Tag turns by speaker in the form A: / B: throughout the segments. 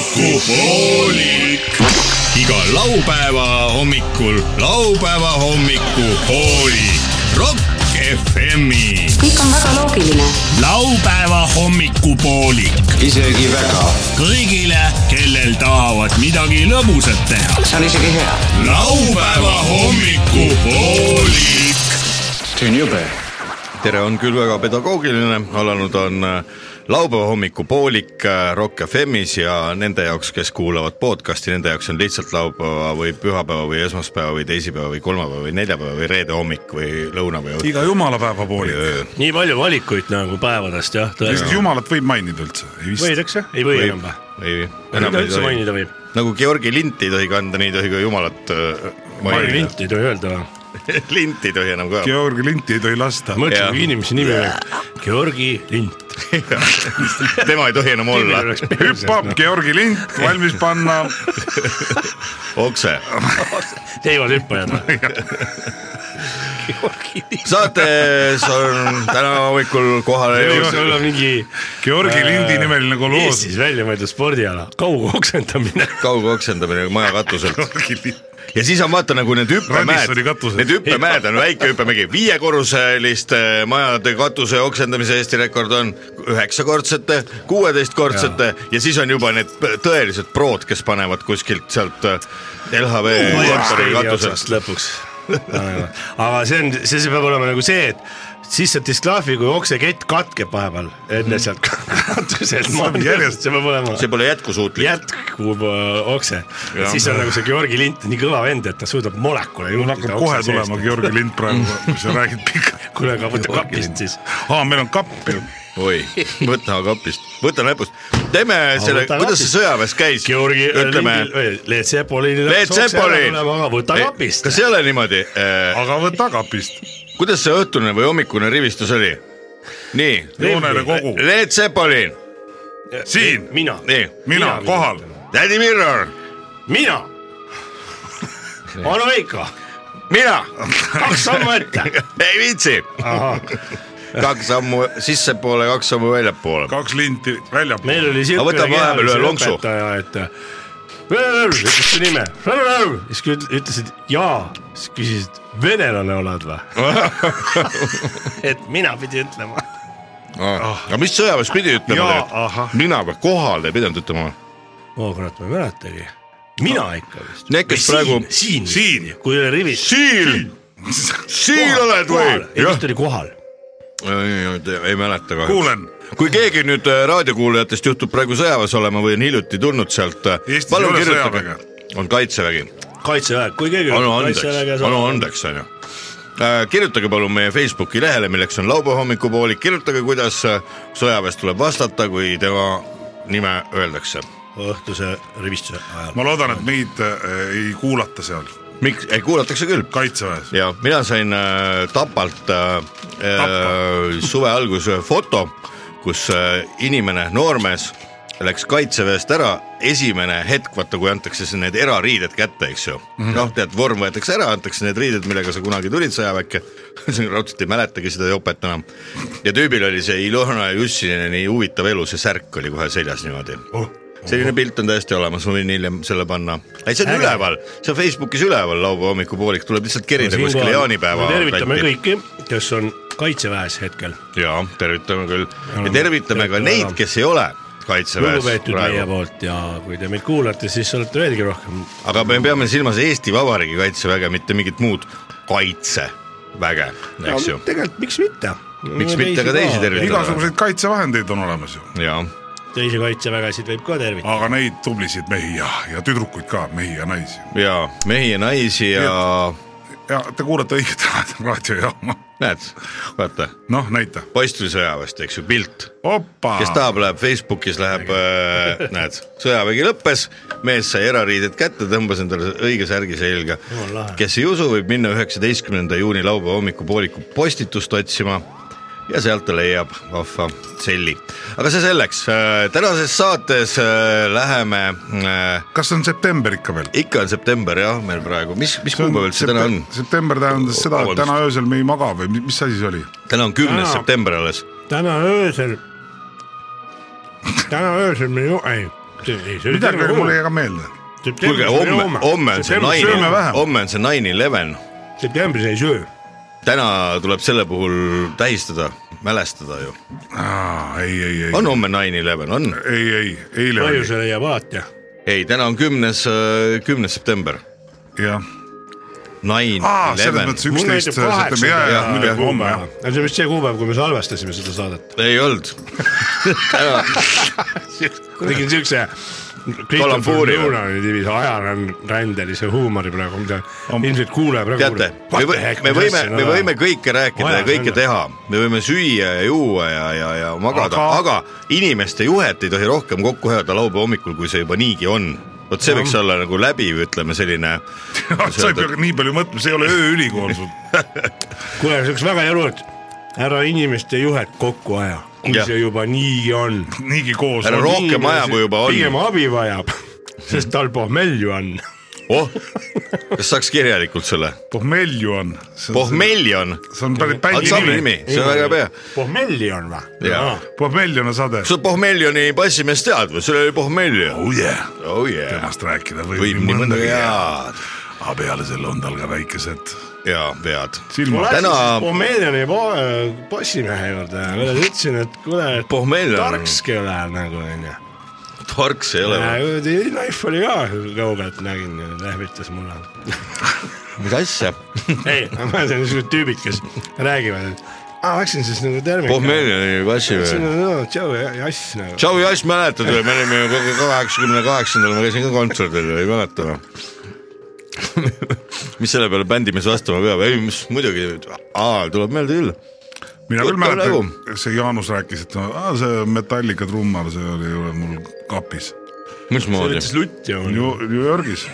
A: hommikupoolik . iga laupäeva hommikul laupäeva hommikupoolik . Rock FM-i .
B: kõik on väga loogiline .
A: laupäeva hommikupoolik
C: isegi väga .
A: kõigile , kellel tahavad midagi lõbusat teha .
C: see on isegi hea .
A: laupäeva hommikupoolik .
C: see on jube .
D: tere , on küll väga pedagoogiline , alanud on äh, laupäeva hommikupoolik äh, Rock FM-is ja nende jaoks , kes kuulavad podcast'i , nende jaoks on lihtsalt laupäeva või pühapäeva või esmaspäeva või teisipäeva või kolmapäeva või neljapäeva või reede hommik või lõuna või õhtu
E: iga jumalapäeva
D: või
E: poolik .
D: öö.
F: nii palju valikuid nagu päevadest jah ,
E: sest
F: tõesti .
E: jumalat võib mainida üldse .
F: võid , eks ju , ei või enam või ?
D: ei , enam
F: mida
D: ei
F: üldse
D: tohi .
F: mainida võib ?
D: nagu Georgi linti ei tohi kanda , nii ei tohi ka jumalat äh, mainida .
F: Marvinti ei tohi öelda või ?
D: linti ei tohi enam ka .
E: Georg Linti ei tohi lasta .
F: mõtle ,
D: Jah.
F: kui inimese nimi oleks Georgi Lint .
D: tema ei tohi enam olla .
E: hüppab Georgi Lint , valmis panna .
D: okse
F: teivad hüppajad või ?
D: saates on täna hommikul kohale
F: võiks
D: jõudnud
F: olla mingi
E: Georgi
F: Äh,
E: Lindi nimeline kolhoos .
F: Eestis välja mõeldud spordiala , kaugoksendamine .
D: kaugoksendamine maja katuselt . ja siis on vaata nagu need hüppemäed
E: Radissoni , katused.
D: need hüppemäed on väike hüppemägi , viiekorruseliste majade katuse oksendamise Eesti rekord on üheksakordsete , kuueteistkordsete ja siis on juba need p- tõelised prood , kes panevad kuskilt sealt äh, LHV kontori katuselt .
F: lõpuks . aga see on , see , see peab olema nagu see , et siis sa disklaafi , kui oksekett katkeb vahepeal enne sealt katuselt .
E: järjest-
F: see peab olema .
D: see pole jätkusuutlik .
F: jätkub öö, okse ,
D: Jah.
F: siis on nagu see Georgi lint nii kõva vend , et ta suudab molekule
E: mul
F: juhtida .
E: hakkab kohe tulema . Georgi Lint praegu , kui sa räägid pikalt .
F: Mm. kuule , aga võta kapist siis .
E: aa , meil on kapp ju .
D: oi , võta kapist , võta näpust , teeme selle ,
F: võta
D: kuidas see
F: kapist.
D: sõjaväes käis ,
F: Georgi , äh,
D: ütleme ,
F: Leet Sepolini .
D: Leet Sepoli .
F: võta kapist .
D: kas ei ole niimoodi äh, ?
E: aga võta kapist .
D: kuidas see õhtune või hommikune rivistus oli ? nii ,
E: joonele kogu .
D: Leet Sepolin ,
E: siin ,
F: Äh, mina ,
D: nii ,
E: mina kohal .
D: Tädi Mirror ,
F: mina . Anu Veiko ,
D: mina ,
F: kaks sammu ette .
D: ei viitsi , kaks sammu sissepoole , kaks sammu väljapoole .
E: kaks linti väljapoole .
F: meil oli siuke .
D: Aga võta vahepeal ühe lonksu.
F: õpetaja , et ütles su nime , siis kui üt- ütlesid jaa , siis küsisid , venelane oled või ? et mina pidin ütlema .
E: ah.
D: aga mis sõjaväes pidi ütlema
F: Jaa,
D: tegelikult ? mina või kohal ei pidanud ütlema ?
F: oo kurat , ma ei mäletagi . mina ikka vist .
D: Need , kes praegu ,
F: siin,
E: siin.
F: siin. , kui oli rivis .
D: siin , siin oled või ?
F: ei , vist oli kohal .
D: ei mäleta kahjuks .
E: kuulen ,
D: kui keegi nüüd äh, raadiokuulajatest juhtub praegu sõjaväes olema või on hiljuti tulnud sealt ,
E: Eestis
D: palun
E: ei ole
D: kirjutage
E: sõjaväge. ,
D: on kaitsevägi
F: kaitseväe , kui keegi .
D: anu andeks , anu . andeks onju . kirjutage palun meie Facebooki lehele , milleks on laupäeva hommikupoolik , kirjutage , kuidas äh, sõjaväes tuleb vastata , kui tema nime öeldakse .
F: õhtuse rivistuse ajal .
E: ma loodan , et meid äh, ei kuulata seal
D: miks , ei kuulatakse küll .
E: kaitseväes .
D: ja mina sain äh, Tapalt äh, äh, suve alguses ühe foto , kus äh, inimene , noormees , läks kaitseväest ära , esimene hetk , vaata kui antakse siis need erariided kätte , eks ju . noh , tead , vorm võetakse ära , antakse need riided , millega sa kunagi tulid sõjaväkke , raudselt ei mäletagi seda jopet enam . ja tüübil oli see Ilona Jussineni huvitav elu , see särk oli kohe seljas niimoodi oh. selline pilt on täiesti olemas , ma võin hiljem selle panna . ei , see on
F: Äge.
D: üleval , see on Facebookis üleval laupäeva hommikupoolik , tuleb lihtsalt kerida tervita kuskil jaanipäeva .
F: tervitame . kõiki , kes on kaitseväes hetkel .
D: jaa , tervitame küll ja tervitame ka neid , kes ei ole kaitseväes
F: Mm. lugupeetud meie
D: praegu ,
F: poolt ja kui te meid kuulate , siis olete veelgi rohkem .
D: aga me peame silmas Eesti Vabariigi kaitseväge , mitte mingit muud kaitseväge , eks ju .
F: tegelikult miks mitte .
D: Miks mitte ka teisi tervitada?
E: igasuguseid kaitsevahendeid on olemas ju ,
D: jaa ,
F: teisi kaitsevägesid võib ka tervitada .
E: aga neid tublisid mehi ja , ja tüdrukuid ka , mehi ja naisi .
D: jaa , mehi ja naisi ja
E: ja te kuulate õiget raadiojaama .
D: näed , vaata ,
E: noh , näita .
D: poiss tuli sõjaväest , eks ju , pilt .
E: opa .
D: kes tahab , läheb Facebookis , läheb , näed , sõjavägi lõppes , mees sai erariided kätte , tõmbas endale õige särgi selga
F: Jumal lahe. .
D: kes ei usu , võib minna üheksateistkümnenda juuni laupäeva hommikupooliku postitust otsima ja sealt ta leiab vahva selli . aga see selleks , tänases saates äh, läheme ,
E: kas on september ikka veel ?
D: ikka on september jah , meil praegu , mis , mis kuupäev üldse täna on ?
E: september tähendas seda , et
D: Vabandust.
E: täna öösel me ei maga või mi- mis asi see oli ?
D: täna on kümnes
F: Täna-
D: september alles ,
F: täna öösel , täna öösel me ju , ei ,
E: midagi veel mul ei jää ka meelde .
D: kuulge , homme , homme on see
E: sööme
D: nine
E: vähem. ,
D: homme on see nine eleven ,
F: septembris ei söö .
D: täna tuleb selle puhul tähistada , mälestada ju .
E: ei , ei , ei ,
D: on homme nine eleven , on ?
E: ei , ei , eile oli ,
F: põhjuse leiab alati .
D: ei , täna on kümnes , kümnes september ,
E: jah .
D: nine
E: aa , selles
D: eleven .
E: mõttes üksteist septembri , jaa , jaa , muidugi homme jah .
F: see on vist see kuupäev , kui me salvestasime seda saadet .
D: ei olnud
F: tegin siukse .
D: Kalambuuri või?
F: tiivis ajaränd , rändelise huumori praegu , mida ilmselt kuulaja praegu
D: teate , me
F: What the
D: või-
F: heck,
D: me
F: mis
D: võime
F: asja, ,
D: me
F: no.
D: võime kõike rääkida ja
F: Vaja
D: kõike
F: on.
D: teha , me võime süüa ja juua ja , ja , ja magada , aga inimeste juhet ei tohi rohkem kokku ajada laupäeva hommikul , kui see juba niigi on . vot see võiks olla nagu läbiv , ütleme selline
E: sa ei pea nii palju mõtlema , see ei ole ööülikool sul .
F: kuule , see oleks väga hea lugu , et ära inimeste juhet kokku aja , kui
D: Jah.
F: ja. see juba niigi on .
E: niigi koos .
D: Ära roo- Rohkem aja, kui juba on.
F: pigem abi vajab , sest tal pohmell ju on .
D: oh , kas saaks kirjalikult selle ,
E: pohmelju on .
D: pohmeljon ,
E: see on päris bändi
D: ansambli
E: nimi .
D: nimi , see on väga hea .
F: pohmelli on või ?
D: jaa ,
E: pohmelju on saade .
D: kas sa pohmeljoni bassimees tead või , seal oli pohmeljon ,
E: oh yeah ,
D: oh yeah ,
E: temast rääkida võib
D: võib nii mõndagi
E: jaa .
D: head ,
E: aga peale selle on tal ka väikesed
D: jaa , head .
E: silmad .
D: Täna-
F: pohmellioni po- bossimehe juurde ja ma ütlesin , et kuule ,
D: Pohmeljon.
F: tarkski ei ole nagu onju . Äh,
D: tark see ei ole või ?
F: teie naif oli ka kaugelt nägin , lehvitas mulle .
D: mis asja ?
F: ei , ma olen niisugused tüübid , kes räägivad , et aa , läksin siis nagu terve .
D: pohmeljoni bassimees
F: siin . on no, tšau ja jass nagu .
D: Joe Jass mäletad või , me olime ju kogu kaheksakümne kaheksandal , ma käisin ka kontserdil , ei mäleta või mis selle peale bändimees vastama peab , ei mis muidugi , aa tuleb meelde küll .
E: mina küll
D: Tuttav
E: mäletan ,
D: nagu.
E: see Jaanus rääkis , et aa, see Metallica trummar , see oli ju mul kapis .
D: mismoodi ,
F: ütles lutt ju .
E: New Yorgis ,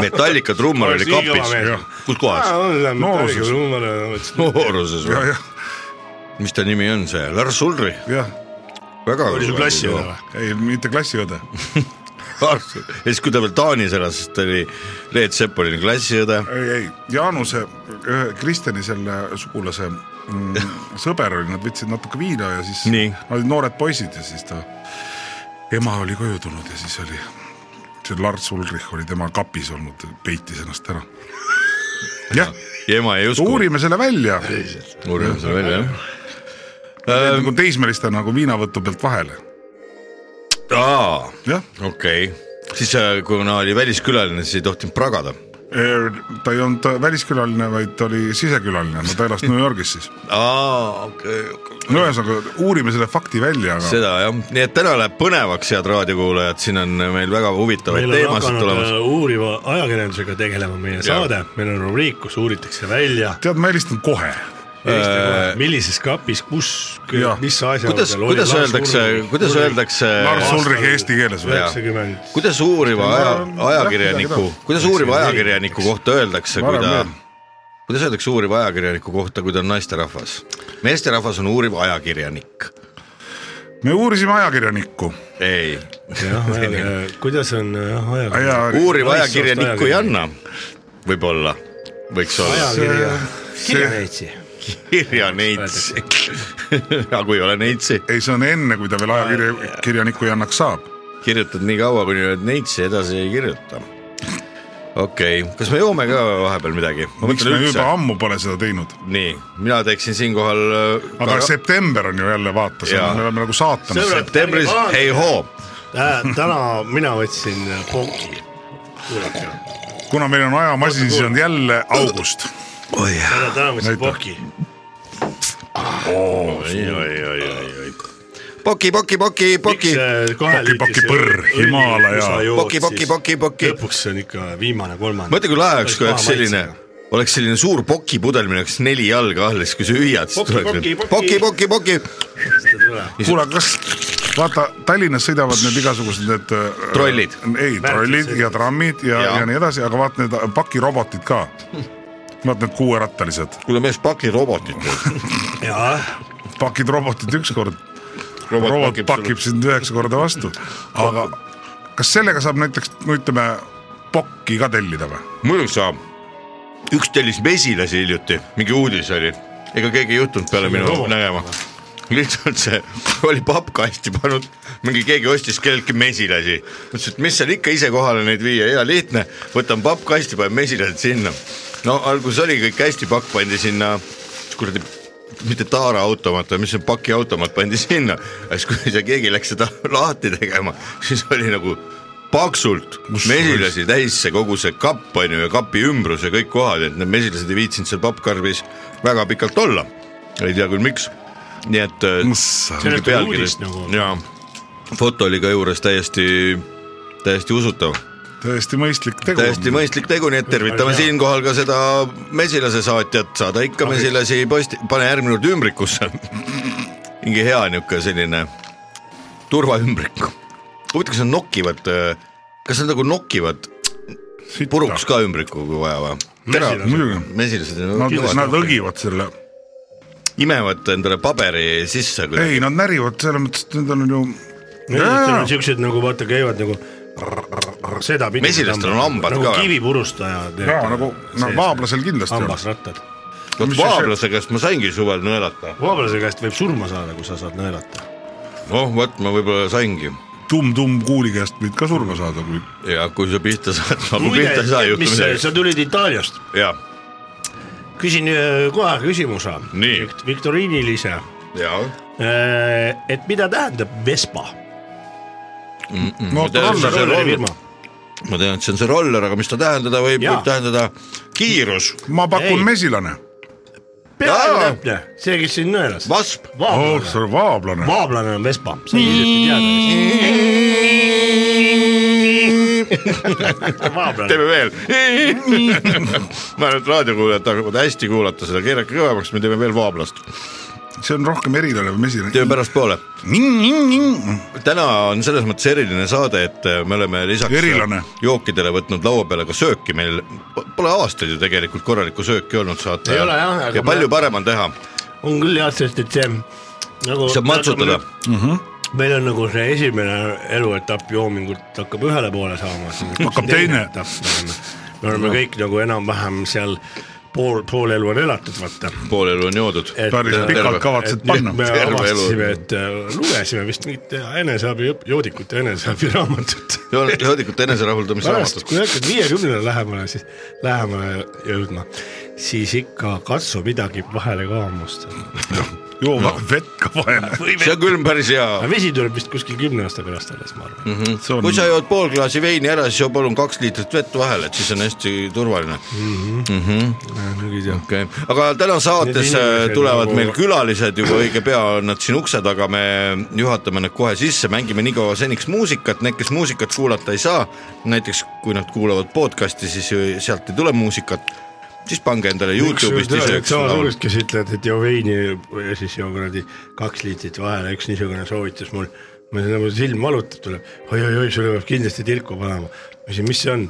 D: Metallica trummar oli
F: Oleks nii kõva
D: kapis
F: mees. ,
D: kus kohas ?
E: Nooruses.
F: nooruses . nagu
D: nooruses või ,
E: jah ,
D: mis ta nimi on see , Lars Ulri ,
E: jah ,
D: väga .
F: oli su klassiõde ? või ?
E: ei mitte klassiõde ,
D: ja siis , kui ta veel Taanis elas , siis ta oli Leet Sepolini klassiõde ,
E: ei , ei Jaanuse , ühe Kristjani selle sugulase mm, sõber oli , nad võtsid natuke viina ja siis
D: Nii.
E: nad olid noored poisid ja siis ta ema oli koju tulnud ja siis oli see Lars Ulrich oli tema kapis olnud , peitis ennast ära . jah ,
D: ja ema ei uskunud ,
E: uurime selle välja
D: uurime selle välja jah .
E: Teed nagu teismeliste nagu viinavõtu pealt vahele ,
D: aa
E: jah .
D: okei okay. , siis äh, kuna oli väliskülaline , siis ei tohtinud pragada .
E: ta ei olnud väliskülaline , vaid ta oli sisekülaline , no ta elas New Yorgis siis .
D: aa , okei okay. ,
E: no ühesõnaga uurime selle fakti välja , aga
D: seda jah , nii et täna läheb põnevaks , head raadiokuulajad , siin on meil väga huvitavaid
F: meil on
D: teemasid
F: hakanud
D: tulemas .
F: äh, uuriva ajakirjandusega tegelema meie saade , meil on rubriik , kus uuritakse välja ,
E: tead , ma helistan kohe .
F: millises kapis , kus ,
E: Jah.
F: mis
D: Äh, kuidas ,
F: asjaoludel
D: kuidas öeldakse , kuidas ? öeldakse ,
E: Lars Ulrich eesti keeles või
D: Äh, Jah. ?
F: üheksakümmend ,
D: kuidas uuriva aja
E: Ma- ,
D: ajakirjaniku
E: jah, ,
D: kuidas uuriva ajakirjaniku kohta öeldakse , kui
E: Varem
D: ta
E: veel. ,
D: kuidas öeldakse uuriva ajakirjaniku kohta , kui ta on naisterahvas ? meesterahvas on uuriv ajakirjanik .
E: me uurisime ajakirjanikku
D: ei ,
F: jah , kuidas on äh, jah ,
E: ja
F: ajakirjandus ,
D: uuriv
F: Naissoost
D: ajakirjanikku ei anna , võib-olla , võiks olla .
F: ajakirja ,
E: see-
F: kirjaneitsi .
D: kirja neitsi . aga kui ei ole neitsi ,
E: ei , see on enne , kui ta veel
D: Äh,
E: ajakirjaniku jannaks saab .
D: kirjutad nii kaua , kuni oled neitsi , edasi ei kirjuta . okei okay. , kas me joome ka vahepeal midagi ? ma
E: miks
D: mõtlen
E: me
D: üldse
E: juba . ammu pole seda teinud ?
D: nii , mina teeksin siinkohal äh,
E: aga
D: ka-
E: september on ju jälle , vaata ,
D: Jaa.
E: me oleme nagu saatanas .
F: Sõbrad-
D: septembris
F: Ärge
D: ei hoo ,
F: täna mina võtsin ponki , kuulake ,
E: kuna meil on ajamasin , siis on jälle august .
F: täna võtsin
E: Näita.
F: ponki
D: poki , poki , poki , poki ,
F: äh,
E: Poki, poki, põrr, Himaalaja.
D: poki , poki , poki , poki .
F: lõpuks see on ikka viimane kolmanda .
D: mõtle , kui lahe oleks , kui oleks selline , oleks selline suur pokipudel , millel oleks neli jalga all , siis kui sa hüüad , siis
F: Poki, poki,
D: tuleks
F: poki.
D: poki , poki , poki ,
E: kuule , kas vaata Tallinnas sõidavad need igasugused need äh,
D: Trollid.
E: ei , trollid ja trammid ja,
D: Jaa.
E: ja nii edasi , aga vaat need pakirobotid ka . Vaat need kuuerattalised ,
D: kuule mees , paki robotit .
F: jah ,
E: pakid robotit ükskord , robot pakib sind üheksa korda vastu , aga kas sellega saab näiteks no ütleme pokki ka tellida või ?
D: muidugi saab . üks tellis mesilasi hiljuti , mingi uudis oli , ega keegi ei juhtunud peale minu
F: robot.
D: nägema . lihtsalt see oli pappkasti pannud , mingi keegi ostis kelleltki mesilasi . ütles , et mis seal ikka ise kohale neid viia , hea lihtne , võtan pappkasti , panen mesilased sinna . no alguses oli kõik hästi , pakk pandi sinna kuradi mitte taaraautomaat , vaid mis see pakiautomaat pandi sinna , siis kui see keegi läks seda lahti tegema , siis oli nagu paksult mesilasi täis see kogu see kapp on ju ja kapi ümbrus ja kõik kohad , et need mesilased ei viitsinud seal pappkarbis väga pikalt olla . ei tea küll , miks . nii et äh,
E: mõssa ,
F: Sellest oli uudis nagu.
D: jaa , foto oli ka juures täiesti , täiesti usutav ,
E: täiesti mõistlik tegu .
D: täiesti mõistlik tegu , nii et tervitame
F: Jaa.
D: siinkohal ka seda mesilase saatjat , saada ikka mesilasi posti , pane järgmine kord ümbrikusse . mingi hea niisugune selline turvaümbrik . huvitav , kas nad nokivad , kas nad nagu nokivad puruks . ka ümbriku , kui vaja või ?
E: muidugi ,
D: mesilased
E: nad , nad
D: nad
E: õgivad selle ,
D: imevad endale paberi sisse .
E: ei , nad närivad selles mõttes , et need on ju .
F: mesilastel on siuksed nagu vaata käivad nagu sedapidi .
D: Mesilastel on hambad
F: nagu
D: ka.
F: kivipurustaja .
E: jaa , nagu , noh , vaablasel kindlasti on .
F: hambasrattad .
D: vot
E: mis see-
D: vaablase käest ma saingi suvel nõelata .
F: vaablase käest võib surma saada , kui sa saad nõelata .
D: noh , vot ma võib-olla saingi
E: tumm-tumm kuuli käest võid ka surma saada , kui
D: ja kui sa pihta saad , aga pihta ei saa , ei juhtu midagi .
F: sa tulid Itaaliast ,
D: ja ,
F: küsin öö, kohe küsimuse .
D: Nii.
F: viktoriinilise ,
D: ja .
F: et mida tähendab Vespa ?
E: no
D: Mida
E: tal on
D: see
E: see
D: roll-
F: rollerifirma ,
D: ma tean , et see on see roller , aga mis ta tähendada võib ,
F: Jaa.
D: võib tähendada kiirus ,
E: ma
F: Ei.
E: pakun mesilane .
F: peaaegu
D: Jaa.
F: täpne , see , kes siin nõelas .
D: vasp .
E: oh , see on vaablane .
F: vaablane on Vespa , see hiljuti teada . vaablane ,
D: teeme veel . ma arvan , et raadiokuulajad tahavad hästi kuulata seda , keerake kõvemaks , me teeme veel vaablast .
E: see on rohkem erilane või
D: teeme
E: mesilane .
D: pärastpoole . täna on selles mõttes eriline saade , et äh, me oleme lisaks
E: Erilane.
D: jookidele võtnud laua peale ka sööki , meil pole aastaid ju tegelikult korralikku sööki olnud saate .
F: Ei ole jah, aga
D: ja
F: ma-
D: palju parem on teha ,
F: on küll jah , sest et see nagu .
D: saab matsutada .
F: meil on nagu see esimene eluetapp joomingut hakkab ühele poole saama .
E: Hakkab teine. . Noh.
F: me oleme kõik nagu enam-vähem seal pool , pool elu on elatud , vaata .
D: pool elu on joodud .
E: päris
D: Terve.
E: pikalt kavatsed panna .
F: me
D: Terve elu.
F: avastasime , et äh, lugesime vist mingit äh, eneseabi , joodikute eneseabi raamatut .
D: joodikute eneserahuldamise
F: pärast ,
D: raamatut .
F: kui hakkad viiekümnele lähemale , siis lähemale jõudma , siis ikka katsu midagi vahele ka hammustada .
E: joo no. Noh, vett ka vahele .
D: see on küll päris hea .
F: aga vesi tuleb vist kuskil kümne aasta pärast alles , ma arvan .
D: Mhm.
E: see on
D: kui sa jood pool klaasi veini ära , siis joo palun kaks liitrit vett vahele , et siis on hästi turvaline . okei , aga täna
F: Need
D: saates
F: inimesed
D: äh, tulevad
F: nagu-
D: meil külalised juba õige pea on nad siin ukse taga , me juhatame nad kohe sisse , mängime nii kaua seniks muusikat , need , kes muusikat kuulata ei saa , näiteks kui nad kuulavad podcast'i , siis ju sealt ei tule muusikat , siis pange endale Youtube'ist ise üks
F: sama
D: laul
F: suurust , kes ütlevad , et joo veini ja siis joo kuradi kaks liitrit vahele , üks niisugune soovitus mul . ma ütlesin , mul silm valutab , tuleb oi-oi-oi , sulle peab kindlasti tilku panema . ma ütlesin , mis see on ?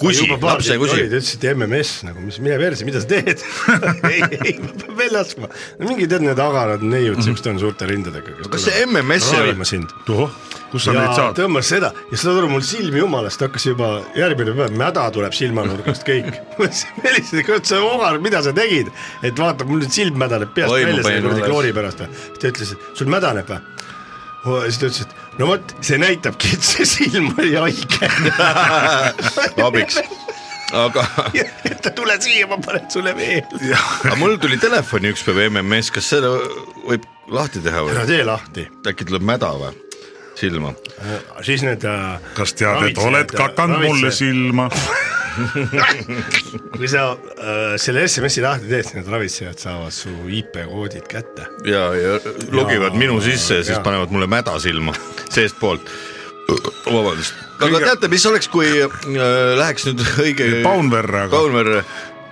D: kusi , lapse kusi
F: ta ütles , et MMS nagu , mis , mine perse , mida sa teed ? ei , ei , ma pean veel laskma . no mingid tead need agarad neiud , siuksed on suurte rindadega .
D: Mhm. Kas see MMS ei ole?
F: ravima sind .
E: tohoh , kus sa
F: ja
E: neid saad ?
F: tõmbas seda ja saad aru , mul silm jumalast hakkas juba järgmine päev , mäda tuleb silmanurgast kõik . ma ütlesin , Meelis , kurat sa ogar , mida sa tegid , et vaata , mul nüüd silm mädaneb peast
D: Oi, ma
F: välja selle
D: panin
F: kuradi
D: üles.
F: kloori pärast või . siis ta ütles , et sul mädaneb või ? siis ta ütles , et no vot , see näitabki , et see silm oli haige .
D: abiks , aga
F: et tule siia , ma panen sulle veel .
D: aga mul tuli telefoni üks päev MMS , kas selle võib lahti teha või
F: ära ? tee lahti ,
D: äkki tuleb mäda või ? silma .
F: siis need äh,
E: kas tead , et
F: ravitsejad- äh,
E: oled kakanud
F: ravitsejad-
E: mulle silma ?
F: kui sa äh, selle SMS-i lahti teed , siis need ravitsejad saavad su IP-koodid kätte .
D: ja , ja logivad
F: Jaa.
D: minu sisse ja siis
F: Jaa.
D: panevad mulle mäda silma seestpoolt . vabandust , aga teate , mis oleks , kui äh, läheks nüüd õige .
E: Paunverre aga.
D: Paunverre ,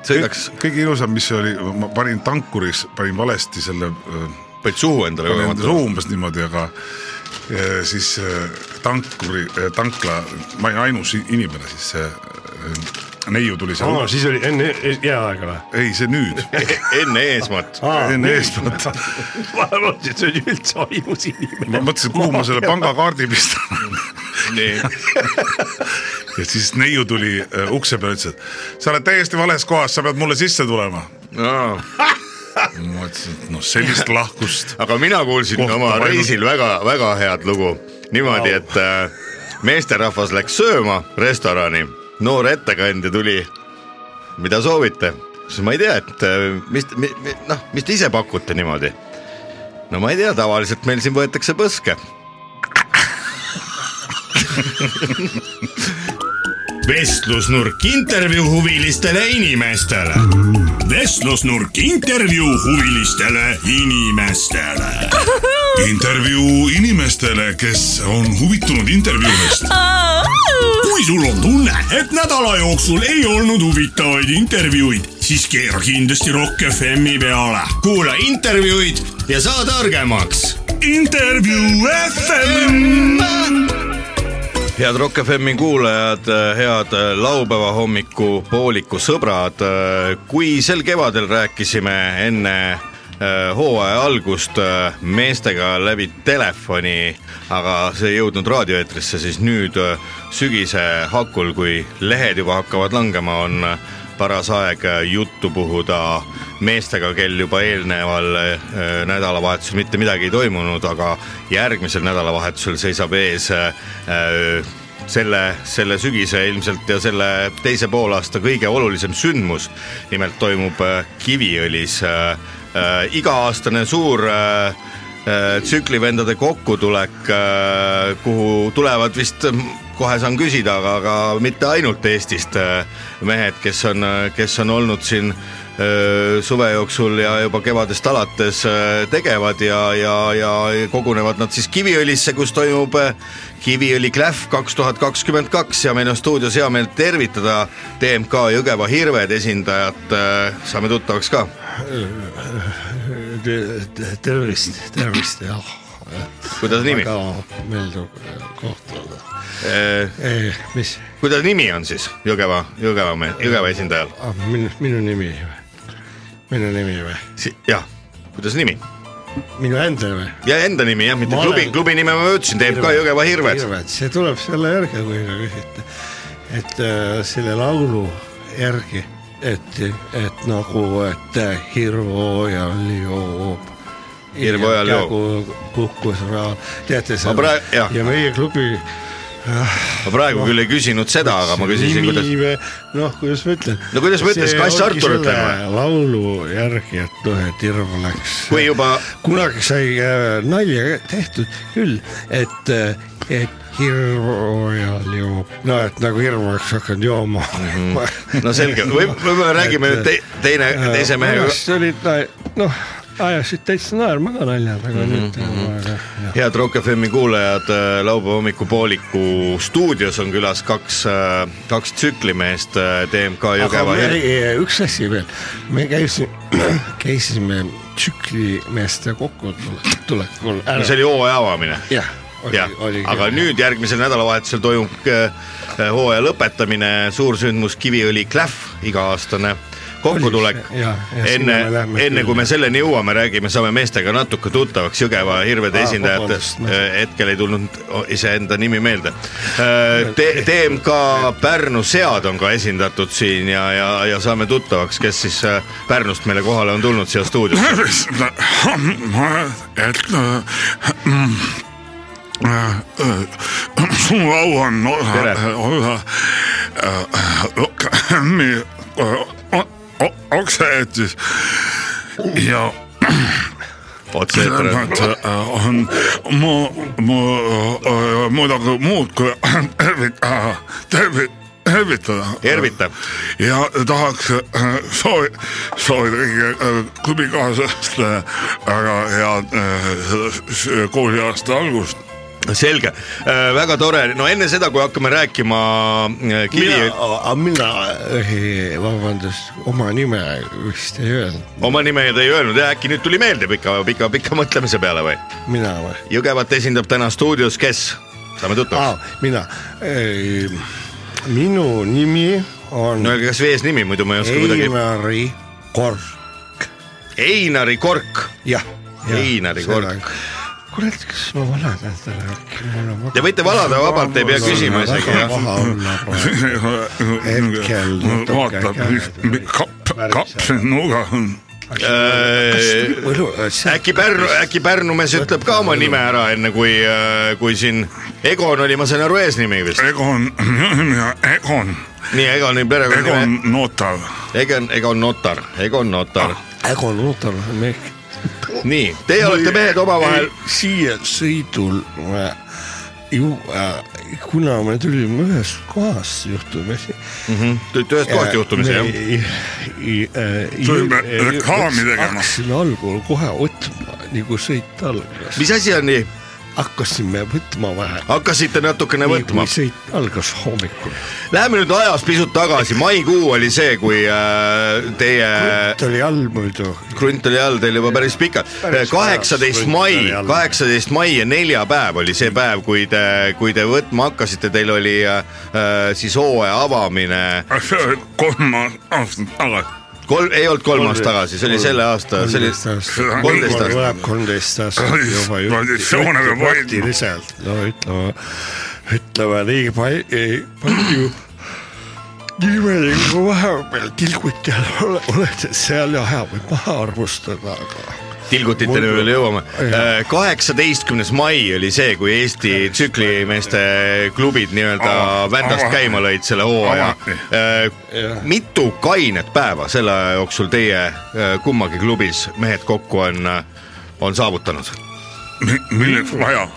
D: sõidaks ,
E: kõige ilusam , mis oli , ma panin tankuris , panin valesti selle öö,
D: panid suhu endale
E: panin enda
D: kogemata .
E: suu umbes niimoodi , aga eh, siis eh, tankuri , tankla , ma olin ainus i- inimene siis , see eh, neiu tuli seal
F: aa ,
E: oh. ,
F: siis oli enne jääaega või ?
E: ei see nüüd ,
D: E-, enne eesmaad .
F: Ah.
E: enne eesmaad ,
F: ma arvasin , et see oli üldse ainus inimene .
E: ma mõtlesin , kuhu ma selle pangakaardi pistan
D: nii ,
E: ja siis neiu äh, tuli eh, ukse peale , ütles , et sa oled täiesti vales kohas , sa pead mulle sisse tulema . ma mõtlesin , et noh , sellist lahkust .
D: aga mina kuulsin
E: Kohtab
D: oma
E: ainult-
D: reisil väga-väga head lugu niimoodi , et äh, meesterahvas läks sööma restorani , noor ettekandja tuli . mida soovite ? siis ma ei tea , et äh, mis , noh , mis te ise pakute niimoodi ? no ma ei tea , tavaliselt meil siin võetakse põske .
A: vestlusnurk intervjuu huvilistele inimestele . vestlusnurk intervjuu huvilistele inimestele .
E: intervjuu inimestele , kes on huvitunud intervjuudest .
A: kui sul on tunne , et nädala jooksul ei olnud huvitavaid intervjuuid , siis keera kindlasti Rock FM-i peale .
D: kuula intervjuud ja saa targemaks
A: intervjuu FM .
D: head Rock FM-i kuulajad , head laupäeva hommiku pooliku sõbrad . kui sel kevadel rääkisime enne äh, hooaja algust äh, meestega läbi telefoni , aga see ei jõudnud raadioeetrisse , siis nüüd äh, sügise hakul , kui lehed juba hakkavad langema , on äh, paras aeg äh, juttu puhuda meestega , kel juba eelneval äh, nädalavahetusel mitte midagi ei toimunud , aga järgmisel nädalavahetusel seisab ees äh, äh, selle , selle sügise ilmselt ja selle teise poolaasta kõige olulisem sündmus . nimelt toimub äh, Kiviõlis äh, äh, iga-aastane suur äh, äh, tsüklivendade kokkutulek , kuhu tulevad vist , kohe saan küsida , aga , aga mitte ainult Eestist äh, mehed , kes on , kes on olnud siin äh, suve jooksul ja juba kevadest alates äh, tegevad ja , ja , ja kogunevad nad siis Kiviõlisse , kus toimub äh, Kiviõli Klähv kaks tuhat kakskümmend kaks ja meil on stuudios hea meel tervitada TMK Jõgeva Hirved esindajat , saame tuttavaks ka .
F: tervist , tervist , jah .
D: kuidas nimi ,
F: väga meeldiv kohtuda .
D: Äh,
F: mis ,
D: kuidas nimi on siis Jõgeva , Jõgeva , Jõgeva esindajal ?
F: Ah, minu , minu nimi või ? minu nimi või ?
D: jah , kuidas nimi ?
F: minu enda või ?
D: ja enda nimi jah , mitte
F: Ma
D: klubi
F: olen- ,
D: klubi nime ma ütlesin , TMK Jõgeva Hirved .
F: see tuleb selle järgi , kui te küsite , et äh, selle laulu järgi , et , et nagu , et äh, hirmuojal joob .
D: Hirmuojal joob. .
F: kukkus raha , teate
D: Ma
F: seda
D: praegu- jah.
F: ja meie klubi .
D: ma praegu küll ei küsinud seda , aga ma küsisin , kuidas .
F: noh , kuidas ma ütlen .
D: No kuidas ma ütlen, kas Kass Artur ütleb või? ?
F: laulu järgi , et noh , et hirm läks .
D: kui juba ,
F: kunagi sai äh, nalja tehtud küll , et , et hirmuajal joob , no et nagu hirm oleks hakanud jooma mm . -hmm.
D: Mhm. no selge , või , või me räägime nüüd te, teine , teise mehega .
F: Äh, olid na- noh , ajasid täitsa naerma ka naljad , aga
D: Mhm,
F: nüüd aga jah.
D: head Rock FM-i kuulajad , laupäeva hommikupooliku stuudios on külas kaks , kaks tsüklimeest äh, TMK
F: aga
D: Jõgeva
F: me,
D: Hirv .
F: eh, üks asi veel , me käisime , käisime tsüklimeeste kokkutulekul
D: no
F: ära
D: see . oli hooaja avamine .
F: jah ,
D: jah , aga . nüüd järgmisel nädalavahetusel toimub äh, hooaja lõpetamine , suursündmus Kiviõli Klähv , iga-aastane kokkutulek
F: Oli see, jah, ja
D: enne
F: sinna me , lähme
D: enne
F: küll.
D: kui me selleni jõuame , räägime , saame meestega natuke tuttavaks Jõgeva hirvede
F: Aa,
D: esindajatest
F: Ah,
D: äh,
F: vabandust, . ma-
D: hetkel ei tulnud iseenda nimi meelde . Äh, TMK Pärnu sead on ka esindatud siin ja , ja , ja saame tuttavaks , kes siis äh, Pärnust meile kohale on tulnud siia stuudiosse .
E: et äh, mm, äh, äh, suur au on
D: Tere.
E: olla , olla äh, Rock FM-i äh, o- o- otse-eetris ja
D: otse ette .
E: tähendab , et äh, on mu , mu äh, muidugi muud kui äh, tervitada , tervitada .
D: Tervita. .
E: ja tahaks äh, soovi , soovida kõigile äh, klubikaaslastele väga head äh, s- s- kooliaasta algust .
D: selge , väga tore , no enne seda , kui hakkame rääkima äh, Kivi
F: mina , mina , vabandust , oma nime vist ei öelnud ,
D: oma nime ta ei öelnud ja äkki nüüd tuli meelde pika , pika , pika mõtlemise peale või ?
F: mina või ?
D: Jõgevat esindab täna stuudios , kes ? saame tuttavaks
F: aa , mina , minu nimi on
D: no öelge , kas või eesnimi , muidu ma ei oska kuidagi .
F: Einari Kork ,
D: Einari Kork
F: jah .
D: Einari Kork. .
F: kurat , kas ma valan endale äkki , mul on
D: Te võite valada vabalt, ei pea küsima isegi, jah.
F: jah . paha olla praegu . Hetkel natuke
E: Äh, vaatab , mis
F: käed
E: mis kapp ,
F: värisevad.
E: kapp siin nurgas on .
D: Äh,
F: äh,
D: äkki Pärnu , äkki Pärnu mees ütleb ka oma nime ära , enne kui , kui siin Egon oli , ma sain aru , eesnimi vist .
E: Egon , Egon ,
D: nii , Egoni perekonnanimi ,
E: Egon Notav .
D: Egon , Egon Notar , Egon Notar .
G: Ägo Luutor , mehk .
D: nii , teie olete mehed omavahel ,
F: siia sõidul me ju , kuna me tulime ühest kohast juhtumisi .
D: te olete ühest
F: Äh,
D: kohast juhtumisi jah ?
E: Tulime reklaami tegema.
F: hakkasime algul kohe võtma , nii kui sõit algas ,
D: mis asi on nii ,
F: hakkasime võtma vähe .
D: hakkasite natukene
F: nii
D: võtma
F: kui ? sõit algas hommikul ,
D: Läheme nüüd ajas pisut tagasi , maikuu oli see , kui äh, teie
F: ta oli all muidu ,
D: krunt oli all teil juba päris pikalt . kaheksateist mai , kaheksateist mai ja neljapäev oli see päev , kui te , kui te võtma hakkasite , teil oli äh, siis hooaja avamine .
E: kolm aastat tagasi .
D: kolm , ei olnud kolm aastat tagasi , see oli selle aasta , see oli kolmteist aastat .
F: tuleb kolmteist aastat juba
E: traditsioone peab hoidma .
F: praktiliselt , no ütleme , ütleme nii palju , palju niimoodi kui vahepeal tilguti all ole- oled , seal ja hea võib maha arvustada , aga
D: tilgutitele veel jõuame . kaheksateistkümnes mai oli see , kui Eesti tsüklimeeste klubid nii-öelda
E: Ava-
D: vändast
E: ava-
D: käima lõid selle hooaja Äh,
E: avati. .
D: mitu kainet päeva selle aja jooksul teie äh, kummagi klubis mehed kokku on , on saavutanud ?
E: milleks vaja ?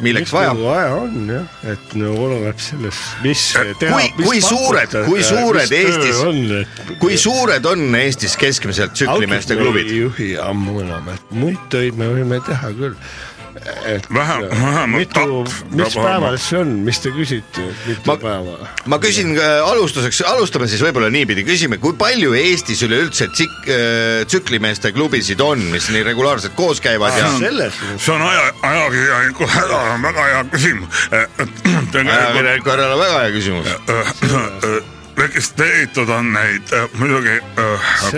D: milleks vaja ?
F: nagu vaja on jah , et no oleneb sellest , mis äh,
D: Kui- kui suured- kui suured Eestis- kui suured on Eestis keskmiselt tsüklimeeste klubid ?
F: juhi ammu enam , et muid töid me võime teha küll . et äh,
E: Vähem- vähemalt
F: mitu
E: kaks ,
F: mis
E: peab olema.
F: päeval see on , mis te küsite , mitu
D: Ma-
F: ma... päeva ?
D: ma küsin äh, alustuseks , alustame siis võib-olla niipidi , küsime , kui palju Eestis üleüldse tsik- , tsüklimeeste klubisid on , mis nii regulaarselt koos käivad ja
F: selles
E: see on aja , ajakirjaniku häda , väga hea küsimus . tegelikult
D: ajakirjaniku härral on väga hea küsimus .
E: äh, registreeritud on neid äh, muidugi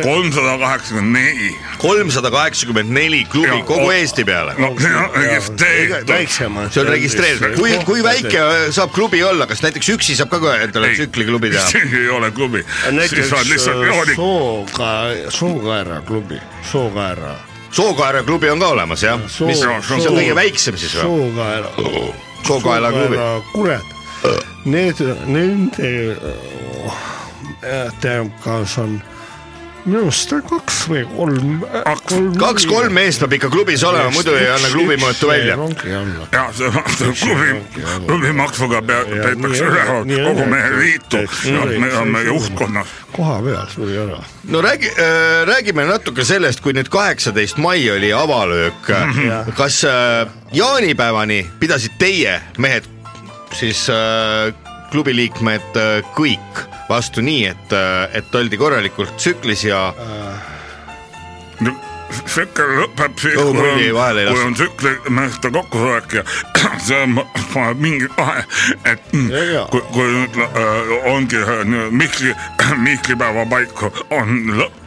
E: kolmsada kaheksakümmend neli .
D: kolmsada kaheksakümmend neli klubi
E: Jaa,
D: kogu
E: o-
D: Eesti peale .
F: Oh,
E: no see on registreeritud .
F: väiksemad .
D: see on registreeritud , kui , kui väike saab klubi olla , kas näiteks üksi saab ka kohe endale tsükliklubi teha ?
E: see ei ole klubi , siis on
F: näiteks äh,
E: lihtsalt joonik .
F: Sooga- , Sookaera klubi , Sookaera .
D: Sookaera klubi on ka olemas jah , mis ,
F: Soo-
D: mis on
F: Soo-
D: kõige väiksem siis või ? Oh.
F: Sookaera .
D: Sookaela klubi ,
F: kured , need , nende äh, tähendab , kas on minu arust on kaks või kolm .
D: kaks-kolm meest peab ikka klubis olema , muidu ei anna klubi mõõtu välja .
F: ongi alla .
E: ja see on klubi , klubi maksuga pea-
F: Ja
E: peetakse
F: nii
E: üleval
F: on, nii on,
E: kogu meie
F: et-
E: liitu
F: et see
E: ja
F: oli-
E: me
F: see
E: oleme
F: oli-
E: juhtkonnas .
F: koha peal suri ära .
D: no räägi , räägime natuke sellest , kui nüüd kaheksateist mai oli avalöök . kas äh, jaanipäevani pidasid teie mehed siis äh, klubi liikmed äh, kõik vastu nii , et , et oldi korralikult tsüklis ja
E: tsükkel lõpeb siis , kui
D: Õhupulli
E: on
D: vahele ei ,
E: kui
D: lasta.
E: on tsüklimeeste kokkusolek ja see on ma- mingi vahe , et mm,
F: Ja, ja.
E: kui , kui nüüd äh, ongi äh, nii- Mihkli , Mihklipäeva paiku on lõpp ,